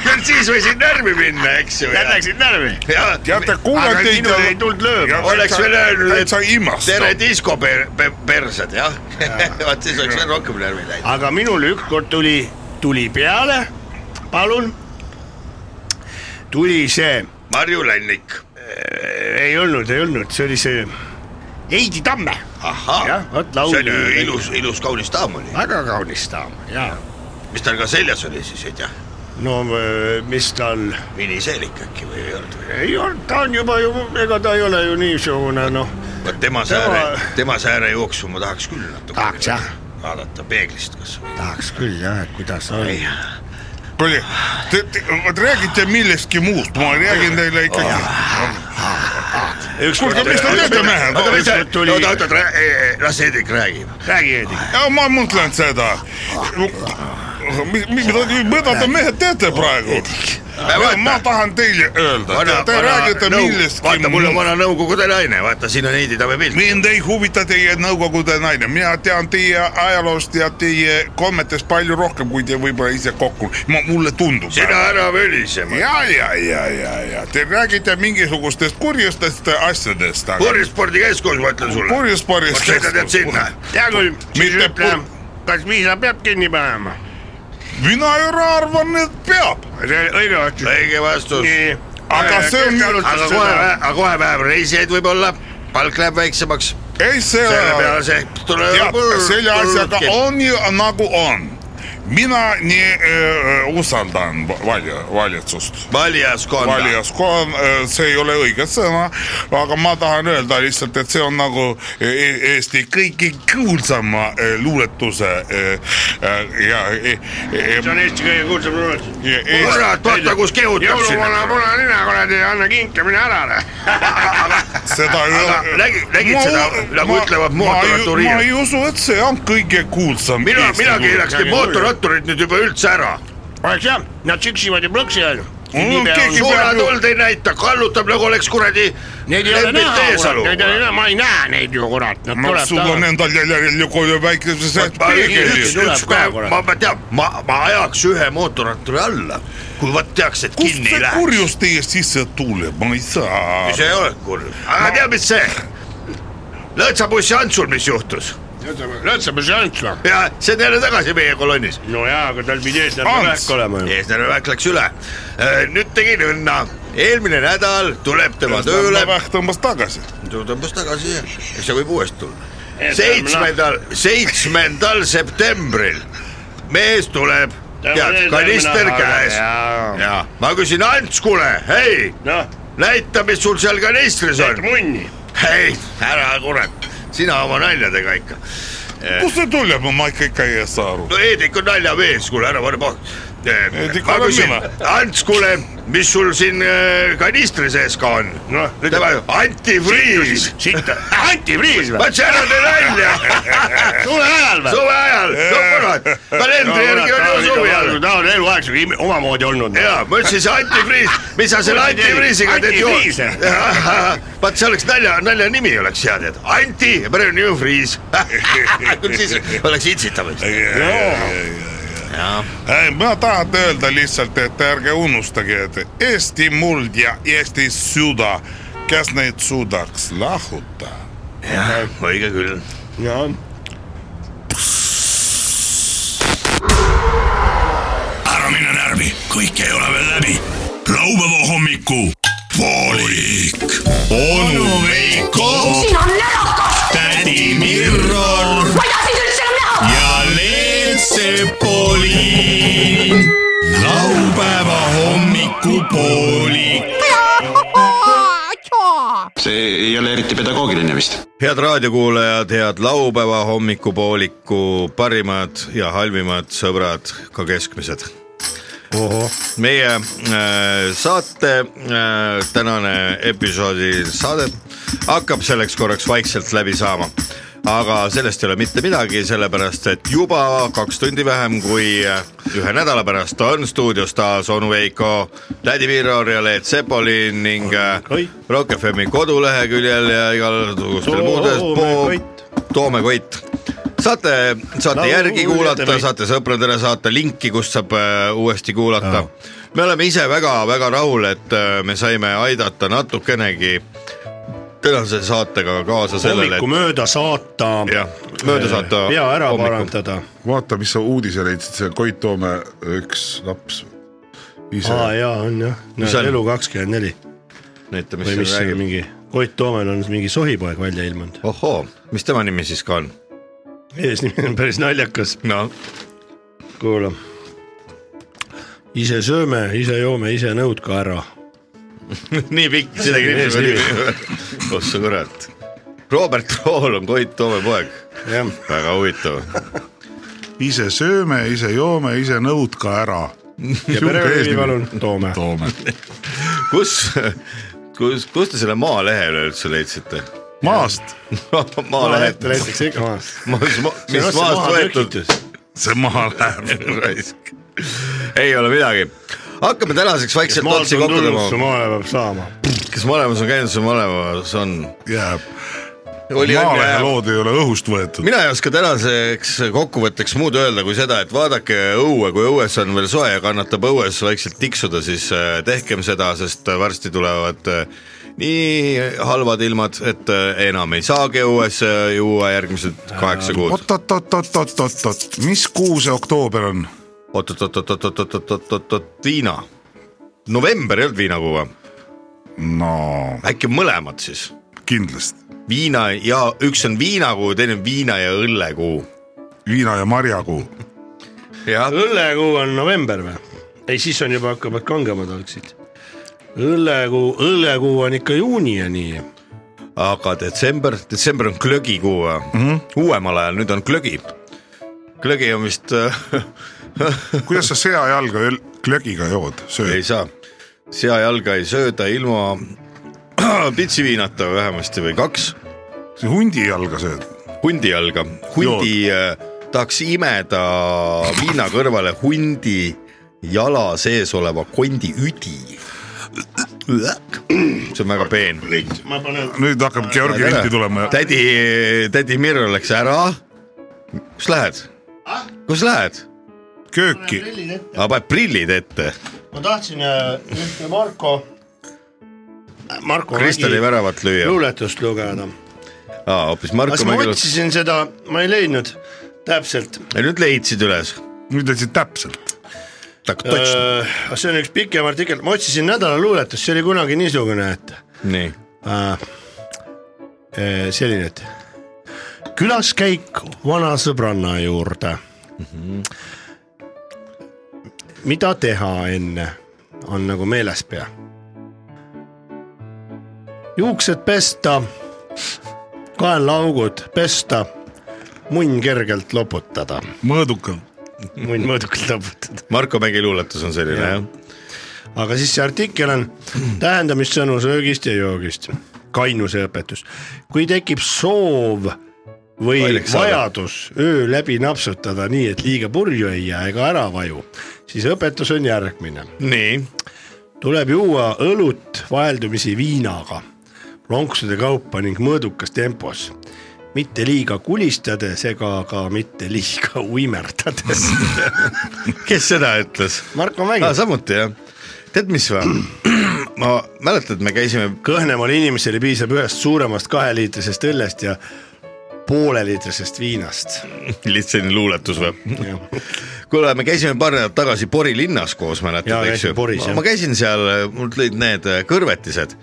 D: küll siis võisin närvi minna , eks ju .
F: nad läksid närvi .
E: teate , kuulan
F: aga
E: teid
F: sinul ei tulnud lööb ,
D: oleks veel öelnud , et
E: täitsa imastav.
D: tere disko per- , per- , persed jah . vaat siis oleks veel rohkem närvi läinud .
F: aga minul ükskord tuli , tuli peale , palun , tuli see ,
D: Marju Lännik ,
F: ei olnud , ei olnud , see oli see Heidi Tamme ,
D: ahhaa
F: Jah, , vot
D: see
F: laulja
D: oli ju
F: ja
D: ilus , ilus kaunis daam oli .
F: väga kaunis daam ja
D: mis tal ka seljas oli siis , ei tea ,
F: no mis tal
D: miniseelik äkki või ei olnud või ?
F: ei olnud , ta on juba ju , ega ta ei ole ju niisugune noh ,
D: vot tema sääre , tema sääre jooksu ma tahaks küll natuke
F: Tahaks, jah.
D: vaadata peeglist kas või .
F: tahaks küll jah , et kuidas on
E: kuule , te , te , vot räägite millestki muust , ma räägin teile ikkagi . kuulge , mis te teete ,
D: oota , mis
E: mehed ?
D: sa ,
F: ükskord tuli-
D: oota , oota , las Hendrik räägib .
F: räägi Heidik .
E: ma mõtlen seda . mida , mida te mehed teete praegu ? ma tahan teile öelda , te, te räägite millestki
D: vaata , mul on
E: muust .
D: vana nõukogude naine , vaata siin on Heidi Tamme pilt .
E: mind ei huvita teie Nõukogude naine , mina tean teie ajaloost ja teie kommetest palju rohkem , kui te võib-olla ise kokku , mulle tundub .
D: sina ära välise .
E: ja , ja , ja , ja , ja te räägite mingisugustest kurjastest asjadest , aga
D: purjespordikeskus , ma ütlen sulle .
E: Purjespordikeskus.
D: ma sõidan tead sinna .
F: hea küll , siis
E: Mitte
F: ütle
E: pu- ,
F: kas viisa peab kinni panema ?
E: mina ju arvan , et peab .
F: õige vastus .
D: õige vastus .
F: nii , Äh,
E: Aga see on-
D: aga kohe , aga kohe vähem reisijaid võib-olla , palk läheb väiksemaks .
E: ei , see .
D: selle peale see .
E: tead , selle asjaga . on ju nagu on . mina nii äh, usaldan va- valja , valitsust .
D: valijaskonda .
E: valijaskond , see ei ole õige sõna , aga ma tahan öelda lihtsalt , et see on nagu e- Eesti kõige kuulsama äh, luuletuse äh, äh, ja . e-,
F: see on Eesti kõige kuulsam luuletus .
D: kurat , vaata kus kehutab
F: jõuluvana
D: sinna .
F: punanina kuradi , anna kinke , mine ära . noh.
E: seda ei ole .
D: nägi- nägid seda, nagu ütlevad mootorratturid?
E: ma ei usu , et see on kõige kuulsam .
D: mina , mina
E: nagu
D: keelaksin
F: Midagi
D: mootorratturid nüüd juba üldse ära .
F: oleks jah , nad süksivad ja plõksivad .
E: Mul on keegi-
D: suunatuld ei näita , kallutab nagu oleks kuradi .
F: Neid ei ole näha , kurat , neid ei ole näha , ma ei näe neid ju , kurat , nad
E: no Noh, sul on
F: tulevad .
E: endal jälle jälle kohe väikeses
D: ma
E: peeglis
D: üks ,
F: tuleb
D: üks
F: ka,
D: päev ,
F: kurat.
D: ma , ma tean , ma , ma ajaks ühe mootorratturi alla , kui vot teaks , et
E: kust
D: kinni ei
E: see
D: lähe .
E: kurjus teie sisse tuleb , ma ei saa .
D: see ei ole kurb , aga tead , mis see ?
K: Lõõtsapussi Antsul , mis juhtus .
L: Lõõtsapussi Antsla .
K: ja see on jälle tagasi meie kolonnis .
L: no jaa , aga tal pidi eesnäärme vähk olema ju .
K: eesnäärme vähk läks üle .
D: Äh,
K: nüüd tegin õnna , eelmine nädal tuleb tema tööle .
E: vähk tõmbas tagasi .
K: tõmbas tagasi jah , eks see võib uuesti tulla . seitsmendal , seitsmendal septembril mees tuleb ,
L: Tema
K: tead
L: eesnäärme ,
K: kanister
L: nahk-
K: käes .
L: jaa.
K: ja ma küsin , Ants , kuule , hei ,
L: noh ,
K: näita , mis sul seal kanistris on .
L: munni .
K: ei , ära kurat , sina oma naljadega ikka .
E: kust see tuleb , ma ikka , ikka ei saa aru .
K: no Heedik on naljamees , kuule ära pane pahku .
E: Heedik
K: ma
E: olen
K: küsin
E: mina. ,
K: Ants , kuule , mis sul siin äh, kanistri sees ka on ?
L: noh ,
K: tema antifriis ,
L: sitta , antifriis või ?
K: vaat see ära tee nalja ,
L: suve ajal või ? Eh.
K: suve ajal , no kurat , kalendri järgi on ju suvi all .
L: ta on eluaeg sihuke omamoodi olnud .
K: ja ma ütlesin , see antifriis , mis sa selle
L: Kuule, teil
K: antifriisiga teed ju
L: antifriis, eh? ?
K: vaat see oleks nalja , nalja nimi oleks hea tead , anti , praegu on friis . küll siis oleks itsitav vist . jah
E: ei , ma tahan öelda lihtsalt , et ärge unustage , et Eesti muld ja Eesti süda , kes neid suudaks lahutada .
K: jah , õige küll .
A: ära mine närvi , kõik ei ole veel läbi . laupäeva hommiku . voolik . onu Veiko ,
N: sina närakas ,
A: tädi Mirro
N: ma ei taha sind üldse enam näha .
A: ja Leelsepoliin . laupäeva hommikupoolik .
C: see ei ole eriti pedagoogiline vist .
D: head raadiokuulajad , head laupäeva hommikupooliku parimad ja halvimad sõbrad , ka keskmised . meie äh, saate äh, tänane episoodi saade hakkab selleks korraks vaikselt läbi saama aga sellest ei ole mitte midagi , sellepärast et juba kaks tundi vähem kui äh, ühe nädala pärast on stuudios taas onu Veiko , tädi Mirror ja Leet Sepolin ning äh, Rock FM-i koduleheküljel ja igasugustel muudes po- , Toome Koit . saate , saate
F: Laulu-
D: järgi
F: ütleme
D: kuulata ,
F: nii.
D: saate sõpradele saata linki , kust saab äh, uuesti kuulata . me oleme ise väga-väga rahul , et äh, me saime aidata natukenegi tänase saatega kaasa sellele ,
F: hommiku mööda saata
D: et . jah , mööda saata .
F: pea ära . parandada .
O: vaata , mis sa uudise leidsid , see Koit Toome üks laps ise
F: aa jaa , on jah ,
D: Mis on?
F: elu kakskümmend neli
D: näita , mis
F: või mis
D: siin
F: see
D: räägib .
F: mingi , Koit Toomel on mingi sohipoeg välja ilmunud .
D: ohoo , mis tema nimi siis ka on ?
F: eesnimi on päris naljakas ,
D: no
F: kuula . ise sööme , ise joome , ise nõud ka ära .
D: nii pikk , isegi nimi
F: Eesnimi.
D: oli . oh sa kurat . Robert Rool on Koit Toome poeg ,
F: jah ,
D: väga huvitav
O: ise sööme , ise joome , ise nõud ka ära .
F: ja perenimi palun Toome .
O: Toome .
D: kus , kus , kust te selle Maalehe üleüldse leidsite ?
O: maast ,
D: maalehed ,
F: näiteks ikka maas .
D: mis
F: otse
D: maast
F: maha
D: võetud ,
E: see maha läheb .
D: raisk . ei ole midagi , hakkame tänaseks vaikselt
F: maalt
D: otsi
F: on
D: kokku
F: tulnud , su
D: tõmbama ,
F: maale peab saama .
D: kes malemas on käinud , see malemas on .
O: jääb .
D: oli õnn
O: maalehe
D: ja
O: lood ei ole õhust võetud .
D: mina ei oska tänaseks kokkuvõtteks muud öelda kui seda , et vaadake õue , kui õues on veel soe ja kannatab õues vaikselt tiksuda , siis äh, tehkem seda , sest varsti tulevad äh, nii halvad ilmad , et äh, enam ei saagi õues äh, juua järgmised kaheksa kuud .
O: oot-oot-oot-oot-oot-oot , mis kuu see oktoober on ?
D: oot-oot-oot-oot-oot-oot-oot-oot , viina . november ei olnud viinakuu või ?
O: no
D: äkki mõlemad siis ?
O: kindlasti ,
D: viina ja üks on viinakuu , teine on viina ja õllekuu .
O: viina ja marjakuu .
D: jah ,
F: õllekuu on november või ? ei , siis on juba hakkavad kangemad algsid . õllekuu , õllekuu on ikka juuniani .
D: aga detsember , detsember on glögikuu mm , -hmm. uuemal ajal , nüüd on glögi . glögi on vist äh, ,
O: kuidas sa seajalga öl- klökiga jood , sööd ?
D: ei saa , seajalga ei sööda ilma pitsiviinata vähemasti või kaks ,
O: hundi jalga sööd ?
D: hundi jalga , hundi äh, tahaks imeda viina kõrvale hundi jala sees oleva kondi üdi . see on väga peen .
F: ma panen
O: nüüd hakkab Georgi
D: Ära.
O: vinti tulema .
D: tädi , tädi Mirro läks ära . kus lähed ? kus lähed ?
O: kööki ,
F: prillid ette ,
D: aga paned prillid ette ,
F: ma tahtsin äh, ühte Marko , Marko Kristali
D: Kristali väravat lüüa .
F: luuletust lugeda ,
D: aa , hoopis Marko
F: kas ma
D: Mägilu .
F: otsisin seda , ma ei leidnud täpselt .
D: ja nüüd leidsid üles .
O: nüüd leidsid täpselt .
F: Äh. see on üks pikem artikkel , ma otsisin nädalaluuletust , see oli kunagi niisugune , et
D: nii .
F: Äh, selline , et külaskäik vana sõbranna juurde mm . -hmm. mida teha enne , on nagu meeles pea . juuksed pesta , kaenlaaugud pesta , munn kergelt loputada .
O: mõõduka .
F: munn mõõdukalt loputada .
D: Marko Mägi luuletus on selline jah .
F: aga siis see artikkel on tähendamissõnu söögist ja joogist , kainuse õpetus . kui tekib soov või
D: Lolleks saada.
F: vajadus öö läbi napsutada nii , et liiga purju ei jää ega ära vaju , siis õpetus on järgmine .
D: nii .
F: tuleb juua õlut vaheldumisi viinaga , lonksude kaupa ning mõõdukas tempos mitte liiga kulistades ega ka mitte liiga uimerdades .
D: kes seda ütles ?
F: Marko Mägi
D: ah, . samuti jah . tead , mis või ? ma mäletan , et me käisime .
F: kõhnemale inimesele piisab ühest suuremast kaheliitrisest õllest ja pooleliitrisest viinast .
D: lihtsalt selline luuletus või ? kuule , me käisime paar nädalat tagasi Pori linnas koos ,
F: Jaa,
D: mäletad , eks
F: käisin
D: ju
F: Poris, jah. .
D: ma käisin seal , mul tulid need äh, kõrvetised ,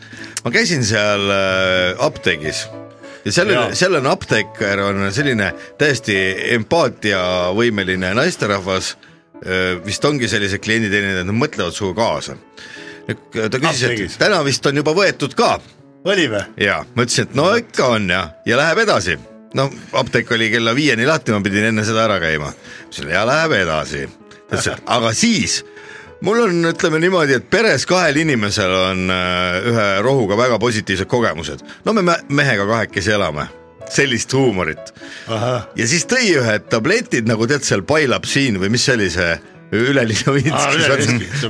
D: ma käisin seal äh, apteegis ja seal
F: Jaa.
D: on , seal on apteeker , on selline täiesti empaatiavõimeline naisterahvas , vist ongi sellised klienditeenindajad , nad mõtlevad sinuga kaasa . ta küsis , et täna vist on juba võetud ka
F: oli või ?
D: ja ma ütlesin , et no ikka on ja , ja läheb edasi . no apteek oli kella viieni lahti , ma pidin enne seda ära käima . ütlesin ja läheb edasi . ta ütles , et aga siis mul on , ütleme niimoodi , et peres kahel inimesel on äh, ühe rohuga väga positiivsed kogemused . no me mä- mehega kahekesi elame , sellist huumorit . ja siis tõi ühe tabletid nagu tead seal Pailab siin või mis see oli see
F: Aa, Üle-Levinski. See on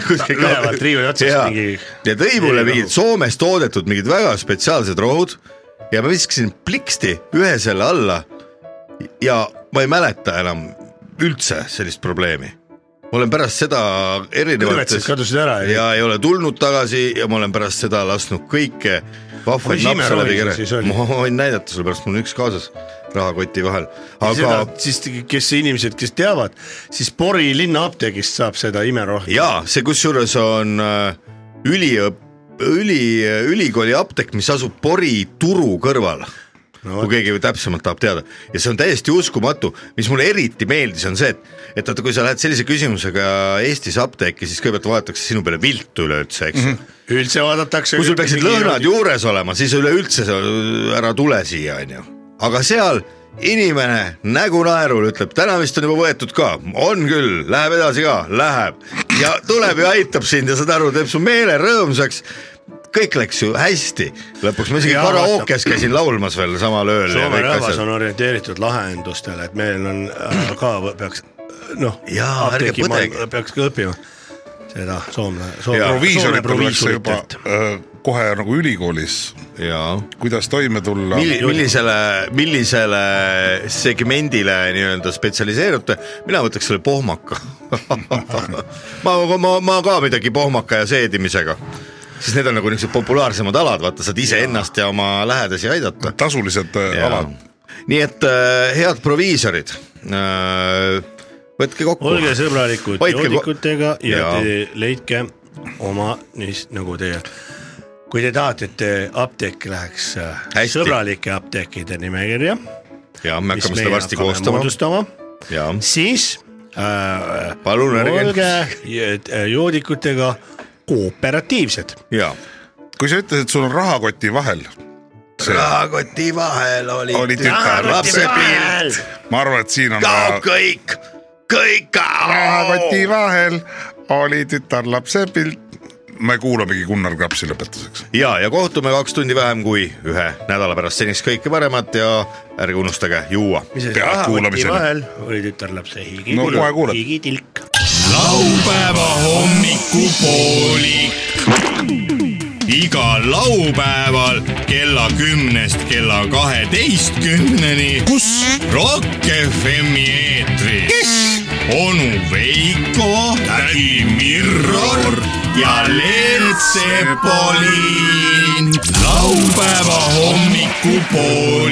D: Üle-Levinski
F: ülevalt riiuli otsast mingi-
D: ja tõi mulle mingid Soomes toodetud mingid väga spetsiaalsed rohud ja ma viskasin pliksti ühe selle alla ja ma ei mäleta enam üldse sellist probleemi . ma olen pärast seda erinevates
F: Kõrvetsid kadusid ära, ei?
D: ja ei ole tulnud tagasi ja ma olen pärast seda lasknud kõike vahvaid
F: Mis
D: napse läbi
F: imerohi see siis
D: kere
F: oli? .
D: ma võin näidata sulle pärast , mul on üks kaasas rahakoti vahel , aga
F: Seda, siis kes inimesed , kes teavad , siis Pori linnaapteegist saab seda imerohtu .
D: jaa , see kusjuures on äh, üliõp- , üli , ülikooli apteek , mis asub Pori turu kõrval no, . kui keegi täpsemalt tahab teada ja see on täiesti uskumatu , mis mulle eriti meeldis , on see , et , et vaata , kui sa lähed sellise küsimusega Eestis apteeki , siis kõigepealt vaadatakse sinu peale viltu üleüldse , eks ju
F: Mhm.
D: mm -hmm.
F: üldse vaadatakse .
D: kui sul peaksid lõhnad juures olema , siis üleüldse sa ära tule siia , onju . aga seal inimene nägu naerul ütleb , täna vist on juba võetud ka , on küll , läheb edasi ka , läheb ja tuleb ja aitab sind ja saad aru , teeb su meele rõõmsaks . kõik läks ju hästi , lõpuks ma isegi
F: Jaa,
D: karaokes käisin laulmas veel samal ööl .
F: Soome rahvas on orienteeritud lahendustele , et meil on äh, ka võ- peaks noh ,
D: Jaa, ärge põdege.
F: peaks ka õppima seda soomla ,
O: proviisorit tullakse juba äh, kohe nagu ülikoolis . kuidas toime tulla .
D: Milli, millisele , millisele segmendile nii-öelda spetsialiseerute , mina võtaks selle pohmaka . ma , ma , ma ka midagi pohmaka ja seedimisega , siis need on nagu niisugused populaarsemad alad , vaata , saad iseennast ja oma lähedasi aidata .
O: tasulised alad. .
D: nii et äh, head proviisorid äh, , võtke kokku .
F: olge sõbralikud
D: Hoidke ko-
F: joodikutega ja
D: Jaa.
F: te leidke oma , niis nagu teie , kui te tahate , et teie apteek läheks äh,
D: Hästi.
F: sõbralike apteekide nimekirja ,
D: ja me hakkame seda varsti koostama .
F: moodustama ,
D: ja
F: siis äh,
D: palun
F: olge
D: ärge .
F: j- joodikutega kooperatiivsed .
D: ja
O: kui sa ütlesid , et sul on rahakoti vahel .
D: rahakoti vahel oli,
O: Oli tütar-
D: lapsepilt .
O: ma arvan , et siin on .
D: kaob kõik , kõik
O: rahakoti
D: kaob .
O: vahel oli tütarlapse pilt . me kuulamegi Gunnar Krapsi lõpetuseks .
D: ja , ja kohtume kaks tundi vähem kui ühe nädala pärast , seniks kõike paremat ja ärge unustage juua .
F: vahel oli tütarlapse higi
D: No kohe kuuled.
F: higitilk .
A: laupäeva hommikupoolik . igal laupäeval kella kümnest kella kaheteistkümneni . kus ? Rock FM-i eetris . onu Veiko , tädi Mirror ja Leelt Sepolin . laupäeva hommikupoolik .